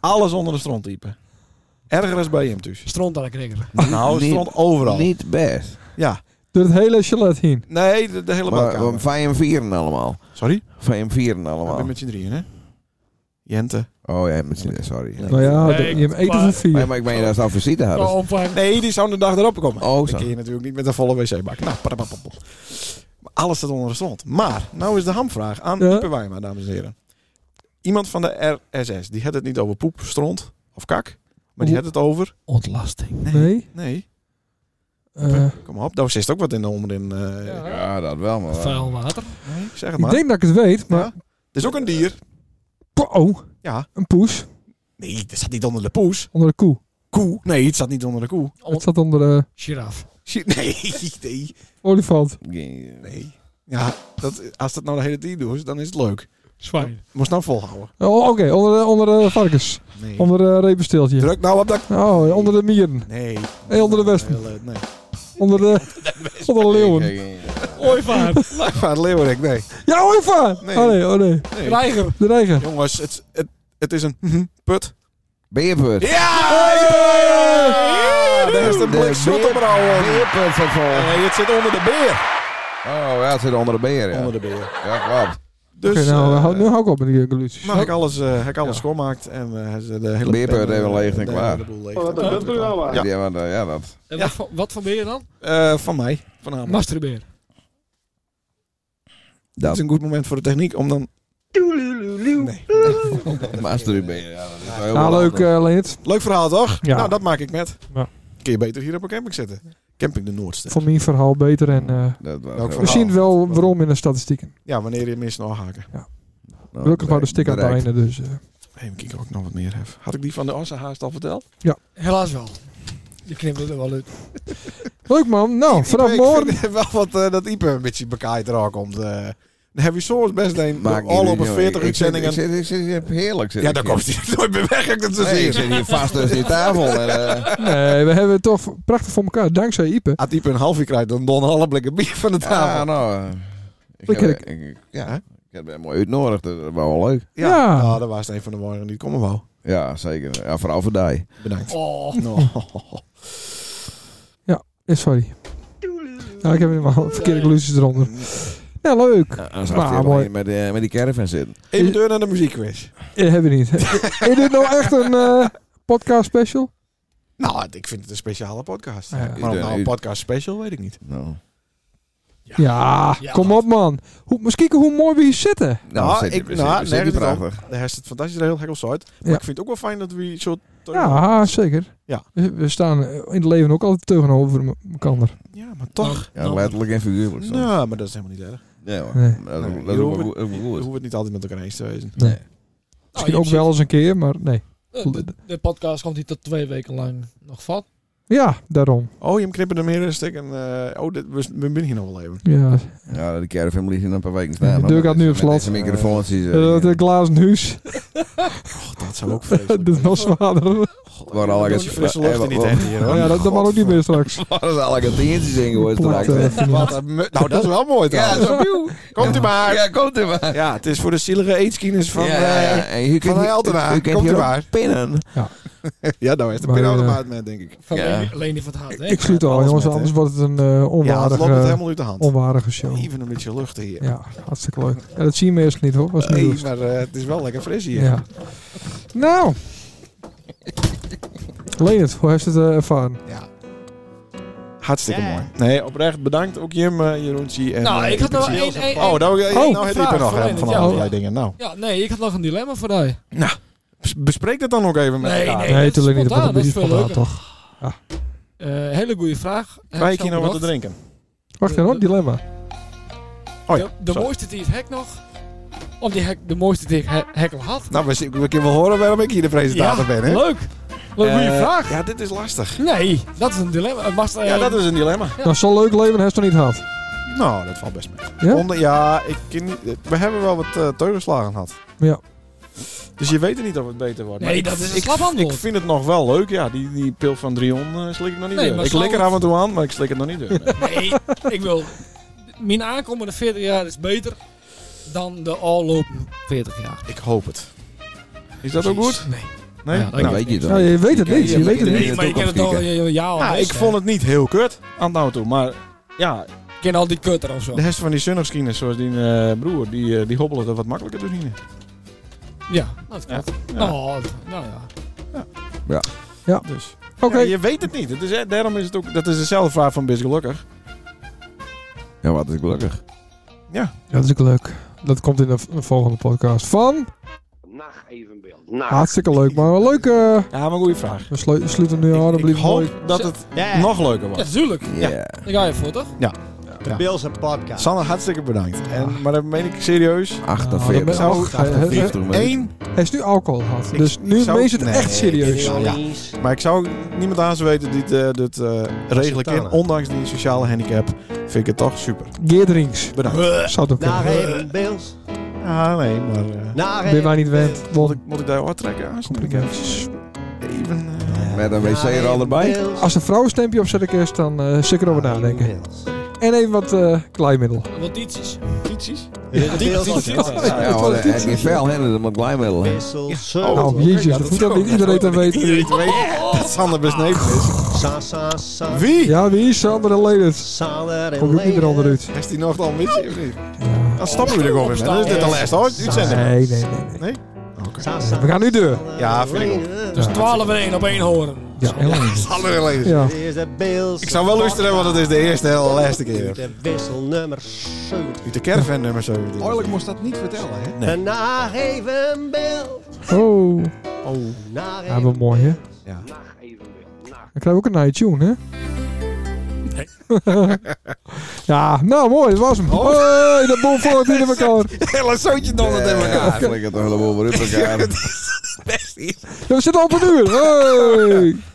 Speaker 2: Alles onder de stront diepen. Erger is bij hem thuis.
Speaker 3: Stront aan de knikker.
Speaker 2: Nou,
Speaker 5: Niet-
Speaker 2: stront overal.
Speaker 5: Niet best.
Speaker 2: Ja. Nou,
Speaker 1: Door het hele chalet heen.
Speaker 2: Nee, de, de hele
Speaker 5: Maar
Speaker 2: badkamer.
Speaker 5: um, vijf vieren allemaal.
Speaker 2: Sorry?
Speaker 5: Vijf vieren
Speaker 2: Ik ben
Speaker 5: allemaal.
Speaker 2: met z'n drieën, hè? Jente.
Speaker 5: Oh ja, met z'n sorry.
Speaker 1: Nou ja, de- je hebt eten van vier.
Speaker 5: Nee, maar ik ben je daar zelf visite hadden.
Speaker 2: Nee, die zou de dag erop komen.
Speaker 5: Oh, zo.
Speaker 2: Dan kun je natuurlijk niet met een volle wc-bak. Nou, padapapapap. Maar Alles staat onder de stront. Maar, nou is de hamvraag aan
Speaker 1: Ja.
Speaker 2: Ipe Wijma, dames en heren. Iemand van de RSS, die had het niet over poep, stront of kak. Maar die
Speaker 1: Oeh.
Speaker 2: had het over...
Speaker 3: Ontlasting.
Speaker 1: Nee.
Speaker 2: Nee.
Speaker 1: Eh,
Speaker 2: Kom op, daar zit ook wat in de onderin. eh,
Speaker 5: Ja, dat wel, maar...
Speaker 3: Vuil water.
Speaker 2: Nee, zeg het
Speaker 1: ik
Speaker 2: maar.
Speaker 1: denk dat ik het weet, maar...
Speaker 2: Het is ook een dier.
Speaker 1: Oh,
Speaker 2: Ja.
Speaker 1: een poes
Speaker 2: Nee, het staat niet onder de poes.
Speaker 1: onder de koe.
Speaker 2: Koe? Nee, het staat niet onder de koe.
Speaker 1: Het zat onder de
Speaker 3: Giraf.
Speaker 2: Shit, Nee, nee.
Speaker 1: olifant.
Speaker 5: eh,
Speaker 2: Nee. Ja, dat, als dat nou de hele tijd doet, dan is het leuk.
Speaker 3: Zwijn.
Speaker 2: Moest nou volhouden.
Speaker 1: Oh, oké. Onder, de, onder de varkens.
Speaker 2: Nee.
Speaker 1: Onder de repensteeltje.
Speaker 2: Druk nou op dat...
Speaker 1: Oh, onder de mieren.
Speaker 2: Nee.
Speaker 1: Hey, onder de wespen.
Speaker 2: Heel, eh, Nee.
Speaker 1: Onder de, onder de leeuwen.
Speaker 3: Ooivaart.
Speaker 2: Laagvaart Leeuwerik, nee.
Speaker 1: Ja, ooievaar!
Speaker 2: Nee.
Speaker 1: Oh nee, oh nee.
Speaker 2: Nee.
Speaker 3: Reiger.
Speaker 1: De reiger.
Speaker 2: Jongens, het, het, het is een... Put.
Speaker 5: Beerput.
Speaker 2: Ja! ja! Daar is de blik zot op rouwen.
Speaker 5: Beerput van voor.
Speaker 2: Nee, het zit onder de beer.
Speaker 5: Oh ja, het zit onder de beer. Ja.
Speaker 2: Onder de beer.
Speaker 5: Ja, klopt.
Speaker 2: Dus,
Speaker 1: Oké, nou,
Speaker 2: eh,
Speaker 1: hou- nu hou ik op met die evolutie.
Speaker 2: Maar heb ik alles, eh, heb ik alles schoonmaakt en eh, hij is de hele
Speaker 5: Beerput
Speaker 2: pen, eh,
Speaker 5: even leeg en
Speaker 2: de-
Speaker 5: klaar.
Speaker 2: de boel leeg.
Speaker 5: Oh, wat een
Speaker 2: Ja.
Speaker 5: Ja, want, eh, ja dat.
Speaker 3: En wat, voor- wat voor ben je dan?
Speaker 2: Eh, van mij, vanavond.
Speaker 3: Masturbeer.
Speaker 2: Dat is een goed moment voor de techniek om dan... Nee. eh,
Speaker 5: Masturbeer. Ja, dat is wel heel
Speaker 1: Nou,
Speaker 5: wat
Speaker 1: leuk,
Speaker 5: anders.
Speaker 1: eh Leendert.
Speaker 2: Leuk verhaal, toch?
Speaker 1: Ja.
Speaker 2: Nou, dat maak ik met.
Speaker 1: Ja.
Speaker 2: Kun je beter hier op een camping zitten. Camping de Noordster.
Speaker 1: Voor mijn verhaal beter. En, eh,
Speaker 5: Dat was
Speaker 2: Welk
Speaker 5: heel
Speaker 1: we
Speaker 2: verhaal?
Speaker 1: zien wel waarom in de statistieken.
Speaker 2: Ja, wanneer je mensen nog haken. Nou,
Speaker 1: Ja. Gelukkig wou de stick aan het
Speaker 2: bereikt.
Speaker 1: einde, dus... eh,
Speaker 2: Even kijken of ik nog wat meer heb. Had ik die van de Assa haast al verteld?
Speaker 3: Helaas wel. Je knipt er wel uit.
Speaker 1: Leuk man. Nou, vanaf
Speaker 2: Ik
Speaker 1: morgen.
Speaker 2: vind wel wat eh, dat Ipe een beetje bekaaid er ook komt. eh. Dan heb je soms best een
Speaker 5: Maakt
Speaker 2: al
Speaker 5: niet
Speaker 2: op een
Speaker 5: uit,
Speaker 2: 40
Speaker 5: jongen. Ik zit-
Speaker 2: uitzendingen.
Speaker 5: Ik zit, ik zit hier heerlijk. Zit
Speaker 2: Ja,
Speaker 5: ik
Speaker 2: daar
Speaker 5: hier.
Speaker 2: komt hij nooit meer weg. Dat is
Speaker 5: Nee, ik zit hier vast tussen die tafel. En, eh,
Speaker 1: Nee, we hebben het toch prachtig voor elkaar. Dankzij Ipe.
Speaker 2: Als Ipe een halfje krijgt, dan don alle blikken bier van de tafel.
Speaker 5: ja, nou. eh, Ik
Speaker 1: Lekker.
Speaker 5: heb, ik, ik- ja, ik heb hem mooi uitnodigd. dus Dat was wel leuk.
Speaker 2: Ja, Nou, dat was het een van de morgen die komen wou.
Speaker 5: Ja, zeker. Ja, vooral voor die.
Speaker 2: Bedankt.
Speaker 3: Oh.
Speaker 2: Nou.
Speaker 1: Ja, eh, sorry. Nou, ik heb helemaal verkeerde conclusies eronder. Ja, leuk.
Speaker 5: Dan zat hij
Speaker 1: maar
Speaker 5: alleen
Speaker 1: Nou, mooi.
Speaker 5: met, eh, met die caravan zitten.
Speaker 2: Even deur naar de muziekquiz.
Speaker 1: Eh, hebben we niet. Is dit nou echt een eh, podcast special?
Speaker 2: Nou, ik vind het een speciale podcast.
Speaker 1: Ja.
Speaker 2: Maar of nou een podcast special, weet ik niet.
Speaker 5: Nou,
Speaker 1: Ja, kom op man. Hoe, misschien hoe mooi we hier zitten.
Speaker 2: Nou, ik, nou,
Speaker 5: zit
Speaker 2: nergens om.
Speaker 5: prachtig.
Speaker 2: Daar is het fantastisch, heel hekkel uit. Maar
Speaker 1: Ja.
Speaker 2: ik vind het ook wel fijn dat we zo...
Speaker 1: Ja, zeker.
Speaker 2: Ja.
Speaker 1: We we staan eh, in het leven ook altijd tegenover elkaar. Nou,
Speaker 2: Ja, maar toch.
Speaker 5: Ja, letterlijk en figuurlijk. soms.
Speaker 2: Nou, maar dat is helemaal niet erg.
Speaker 5: Nee hoor.
Speaker 1: Nee.
Speaker 5: Dat,
Speaker 2: Nee,
Speaker 5: is-
Speaker 2: je
Speaker 5: dat is ook
Speaker 2: hoeft
Speaker 5: wel goed.
Speaker 2: het- Je hoeft het niet altijd met elkaar eens te wezen.
Speaker 1: Nee.
Speaker 2: Oh,
Speaker 1: Misschien ook wel eens een keer, maar nee.
Speaker 3: Eh, De, de podcast komt hier tot twee weken lang nog van.
Speaker 1: Ja, daarom.
Speaker 2: Oh, je hem knippen er meer een stuk en... eh, oh, dit, we, we binnen hier nog wel even.
Speaker 1: Ja.
Speaker 5: Ja, die caravan ligt in een paar weken staan.
Speaker 1: De deur gaat nu op slot.
Speaker 5: Met deze microfoons. die ze-
Speaker 1: Eh, dat glazen huis.
Speaker 2: Oh, Dat zou ook
Speaker 1: Dat is nog zwaarder.
Speaker 5: Waar al
Speaker 2: Door die frisse
Speaker 5: eh,
Speaker 2: lucht in die tent hier, hoor.
Speaker 1: Oh, Ja, dat, dat mag ook niet meer straks.
Speaker 5: Waar is al een tientjes in geweest?
Speaker 1: Plat,
Speaker 5: direct,
Speaker 1: eh,
Speaker 5: hè?
Speaker 1: vermaakt.
Speaker 2: Wat een mu- Nou, dat is wel mooi
Speaker 5: Ja,
Speaker 2: trouwens.
Speaker 5: zo pieuw.
Speaker 2: Komt u maar.
Speaker 5: Ja, komt u maar.
Speaker 2: Ja, het is voor de zielige aidskiners van,
Speaker 5: Ja, ja, ja.
Speaker 2: eh,
Speaker 5: En je kunt
Speaker 2: van
Speaker 5: hier-
Speaker 2: Heltenaar.
Speaker 5: je kunt
Speaker 2: Komt u
Speaker 5: hier ook
Speaker 2: maar.
Speaker 5: pinnen.
Speaker 1: Ja.
Speaker 2: ja, nou is de
Speaker 1: Maar,
Speaker 2: pin
Speaker 1: eh,
Speaker 2: automaat met, denk ik.
Speaker 3: Van
Speaker 5: Ja.
Speaker 3: Leni- Leni van het Hart. hè?
Speaker 1: Ik sluit al,
Speaker 2: alles
Speaker 1: jongens,
Speaker 2: met, hè?
Speaker 1: anders wordt het een eh
Speaker 2: Ja, het
Speaker 1: onwaardige,
Speaker 2: loopt het helemaal uit de hand.
Speaker 1: onwaardige show.
Speaker 2: Even een beetje lucht hier.
Speaker 1: Ja, hartstikke leuk. Ja, dat zien we eerst niet hoor. Was
Speaker 2: Nee,
Speaker 1: nieuws.
Speaker 2: maar eh, het is wel lekker fris hier.
Speaker 1: Ja. Nou. Leonard, hoe heeft het eh, ervaren?
Speaker 2: Hartstikke mooi. Nee, oprecht bedankt ook Jim, eh Jeroentje en
Speaker 3: Nou,
Speaker 2: eh,
Speaker 3: ik had nog
Speaker 2: Pietertje.
Speaker 3: één- één-
Speaker 2: Oh, nou, eh,
Speaker 1: Oh,
Speaker 2: nou heb
Speaker 3: vraag
Speaker 2: je nog
Speaker 3: voor
Speaker 2: eh,
Speaker 3: Leonard,
Speaker 2: van
Speaker 3: ja.
Speaker 2: allerlei
Speaker 3: Ja.
Speaker 2: dingen. Nou,
Speaker 3: Ja, nee, ik had nog een dilemma voor jou.
Speaker 2: nou, bes- bespreek dat dan ook even met
Speaker 3: Nee,
Speaker 2: elkaar.
Speaker 3: nee, dat is
Speaker 1: tuurlijk niet. Dat wordt
Speaker 3: spontaan,
Speaker 1: een
Speaker 3: dat is
Speaker 1: beetje
Speaker 3: veel
Speaker 1: spontaan,
Speaker 3: leuker.
Speaker 1: toch?
Speaker 3: Eh, hele goede vraag. Heb
Speaker 2: Wij
Speaker 3: ik zo
Speaker 2: hier nog wat te
Speaker 3: bedacht.
Speaker 2: drinken.
Speaker 1: Wacht even, hoor, dilemma.
Speaker 2: Oh ja,
Speaker 3: De
Speaker 2: zo.
Speaker 3: mooiste die het hek nog. Of die hek, de mooiste die ik he- hek al had.
Speaker 2: Nou, we, zien- we kunnen wel horen waarom ik hier de presentator
Speaker 3: Ja,
Speaker 2: ben, hè?
Speaker 3: Leuk. Leuk, goede
Speaker 2: Eh,
Speaker 3: vraag.
Speaker 2: Ja, dit is lastig.
Speaker 3: Nee, dat is een dilemma. Het mag, eh,
Speaker 2: Ja, dat is een dilemma.
Speaker 1: Nou, zo'n leuk leven heeft ze nog niet gehad.
Speaker 2: Nou, dat valt best mee.
Speaker 1: Ja?
Speaker 2: Onder, ja, ik ken niet, we hebben wel wat eh teugelslagen gehad.
Speaker 1: Ja.
Speaker 2: Dus je weet het niet of het beter wordt.
Speaker 3: Nee,
Speaker 2: Maar ik-
Speaker 3: dat is een
Speaker 2: ik,
Speaker 3: slap antwoord.
Speaker 2: Ik vind het nog wel leuk. Ja, die, die pil van Drion eh, slik ik nog niet
Speaker 3: Nee,
Speaker 2: door.
Speaker 3: maar
Speaker 2: Ik lik er
Speaker 3: zou het-
Speaker 2: af en toe aan, maar ik slik het nog niet door. Nee.
Speaker 3: Nee, ik wil... Mijn aankomende 40 jaar is beter dan de afgelopen 40 jaar.
Speaker 2: ik hoop het. Is dat ook goed?
Speaker 3: Nee.
Speaker 2: Nee?
Speaker 3: Ja, dat
Speaker 2: Nou,
Speaker 5: weet je toch?
Speaker 1: Nou, je weet het
Speaker 5: Je
Speaker 1: niet.
Speaker 5: kan-
Speaker 1: Je weet het
Speaker 5: kan
Speaker 1: niet.
Speaker 5: in de
Speaker 3: maar je kan het
Speaker 5: toekomst
Speaker 3: toch...
Speaker 5: kijken.
Speaker 3: Ja, al
Speaker 2: nou,
Speaker 3: best,
Speaker 2: ik
Speaker 3: hè.
Speaker 2: vond het niet heel kut aan nou toe. Maar ja,
Speaker 3: Ik ken al die kutter of zo.
Speaker 2: de rest van die zonnigskieners, zoals die eh, broer, die, eh, die hobbelen er wat makkelijker doorheen.
Speaker 3: Ja, dat klopt.
Speaker 2: Ja.
Speaker 3: Nou, nou ja.
Speaker 2: Dus.
Speaker 1: Oké.
Speaker 2: Ja, je weet het niet. Het is, eh, daarom is het ook... Dat is dezelfde vraag van Bis Gelukkig.
Speaker 5: Ja, wat is gelukkig.
Speaker 1: Ja, dat is ook leuk. Dat komt in de v- volgende podcast van.
Speaker 13: Nacht evenbeeld.
Speaker 3: Nou.
Speaker 1: Hartstikke leuk, maar wel leuk. eh,
Speaker 2: Ja, maar een goede vraag.
Speaker 1: we, slu- sluiten nu aan.
Speaker 2: Ik
Speaker 1: alsjeblieft mooi.
Speaker 2: hoop dat het nog leuker
Speaker 3: Ja,
Speaker 2: wordt.
Speaker 3: tuurlijk.
Speaker 5: Ja.
Speaker 3: Daar ga je voor, toch?
Speaker 2: Ja.
Speaker 7: De Bills en podcast.
Speaker 2: Sander, hartstikke bedankt. En, maar dat meen ik serieus.
Speaker 1: Nou, dat
Speaker 5: 48.
Speaker 1: ben- och, hij- hij-
Speaker 5: 48
Speaker 1: hij-
Speaker 5: minuten.
Speaker 2: Eén.
Speaker 1: eh, Hij is nu alcohol gehad.
Speaker 2: Ik-
Speaker 1: Dus
Speaker 2: ik
Speaker 1: nu
Speaker 2: zou-
Speaker 1: mees het
Speaker 2: Nee,
Speaker 1: echt serieus.
Speaker 2: Ja, ja. Maar ik zou niemand aan zo weten die het, eh, dit eh, regelen kan. Ondanks die sociale handicap vind ik het toch super.
Speaker 1: Geerdrinks.
Speaker 2: Bedankt.
Speaker 1: Zou het ook
Speaker 7: Naar
Speaker 1: kunnen.
Speaker 7: even Bills.
Speaker 2: Ah, nee, maar... eh,
Speaker 7: Naar
Speaker 1: Ben
Speaker 7: even.
Speaker 1: wij niet wend.
Speaker 2: moet, ik, moet ik daar wat trekken? Ah, snap ik
Speaker 1: Compliments.
Speaker 2: even. Even... eh,
Speaker 5: Met een wc er al erbij.
Speaker 7: Bills.
Speaker 1: Als een vrouwenstempje op zet ik eerst, dan eh zeker over nadenken. En even wat eh, kleimiddel.
Speaker 3: Wat tietjes.
Speaker 2: Tietjes?
Speaker 1: Ja, deels als-
Speaker 5: Ja, want hij- hij heeft veel hè, dat moet glijmiddel. hè.
Speaker 2: Oh,
Speaker 1: Nou, jezus, dat moet ook niet iedereen dat weten.
Speaker 2: Dat Sander besneeuwd is.
Speaker 1: Wie? Ja, wie is Sander en Ledert? Komt ook niet er onder uit.
Speaker 2: Heeft hij nog dan mis of niet? Dan stappen we er gewoon weer mee. Dan is dit de laatste hoor. Uitzending.
Speaker 1: Nee, nee, nee.
Speaker 2: Nee?
Speaker 1: We gaan nu deur.
Speaker 2: Ja, vind ik
Speaker 3: Dus 12 en 1 op één horen.
Speaker 1: Ja,
Speaker 2: wel. Ja, Sander en Leders.
Speaker 1: Ja.
Speaker 2: Ik zou wel luisteren, want het is de eerste en de laatste keer.
Speaker 7: Wisselnummer 7.
Speaker 2: Uit de caravan nummer 17.
Speaker 7: Oorlijk moest dat niet vertellen, hè?
Speaker 2: Nee.
Speaker 7: Naar even bel.
Speaker 1: Oh.
Speaker 2: Oh.
Speaker 1: Ja, wel mooi, hè?
Speaker 2: Ja.
Speaker 1: Dan krijgen we ook een night tune, hè? ja, nou mooi, dat was hem. Oh. Hey, dat bom volgt niet in elkaar.
Speaker 2: Hele zootje donderd in
Speaker 5: Ja,
Speaker 2: elkaar.
Speaker 5: flikker toch helemaal weer op elkaar.
Speaker 1: Ja, we zitten al op een uur. Hey.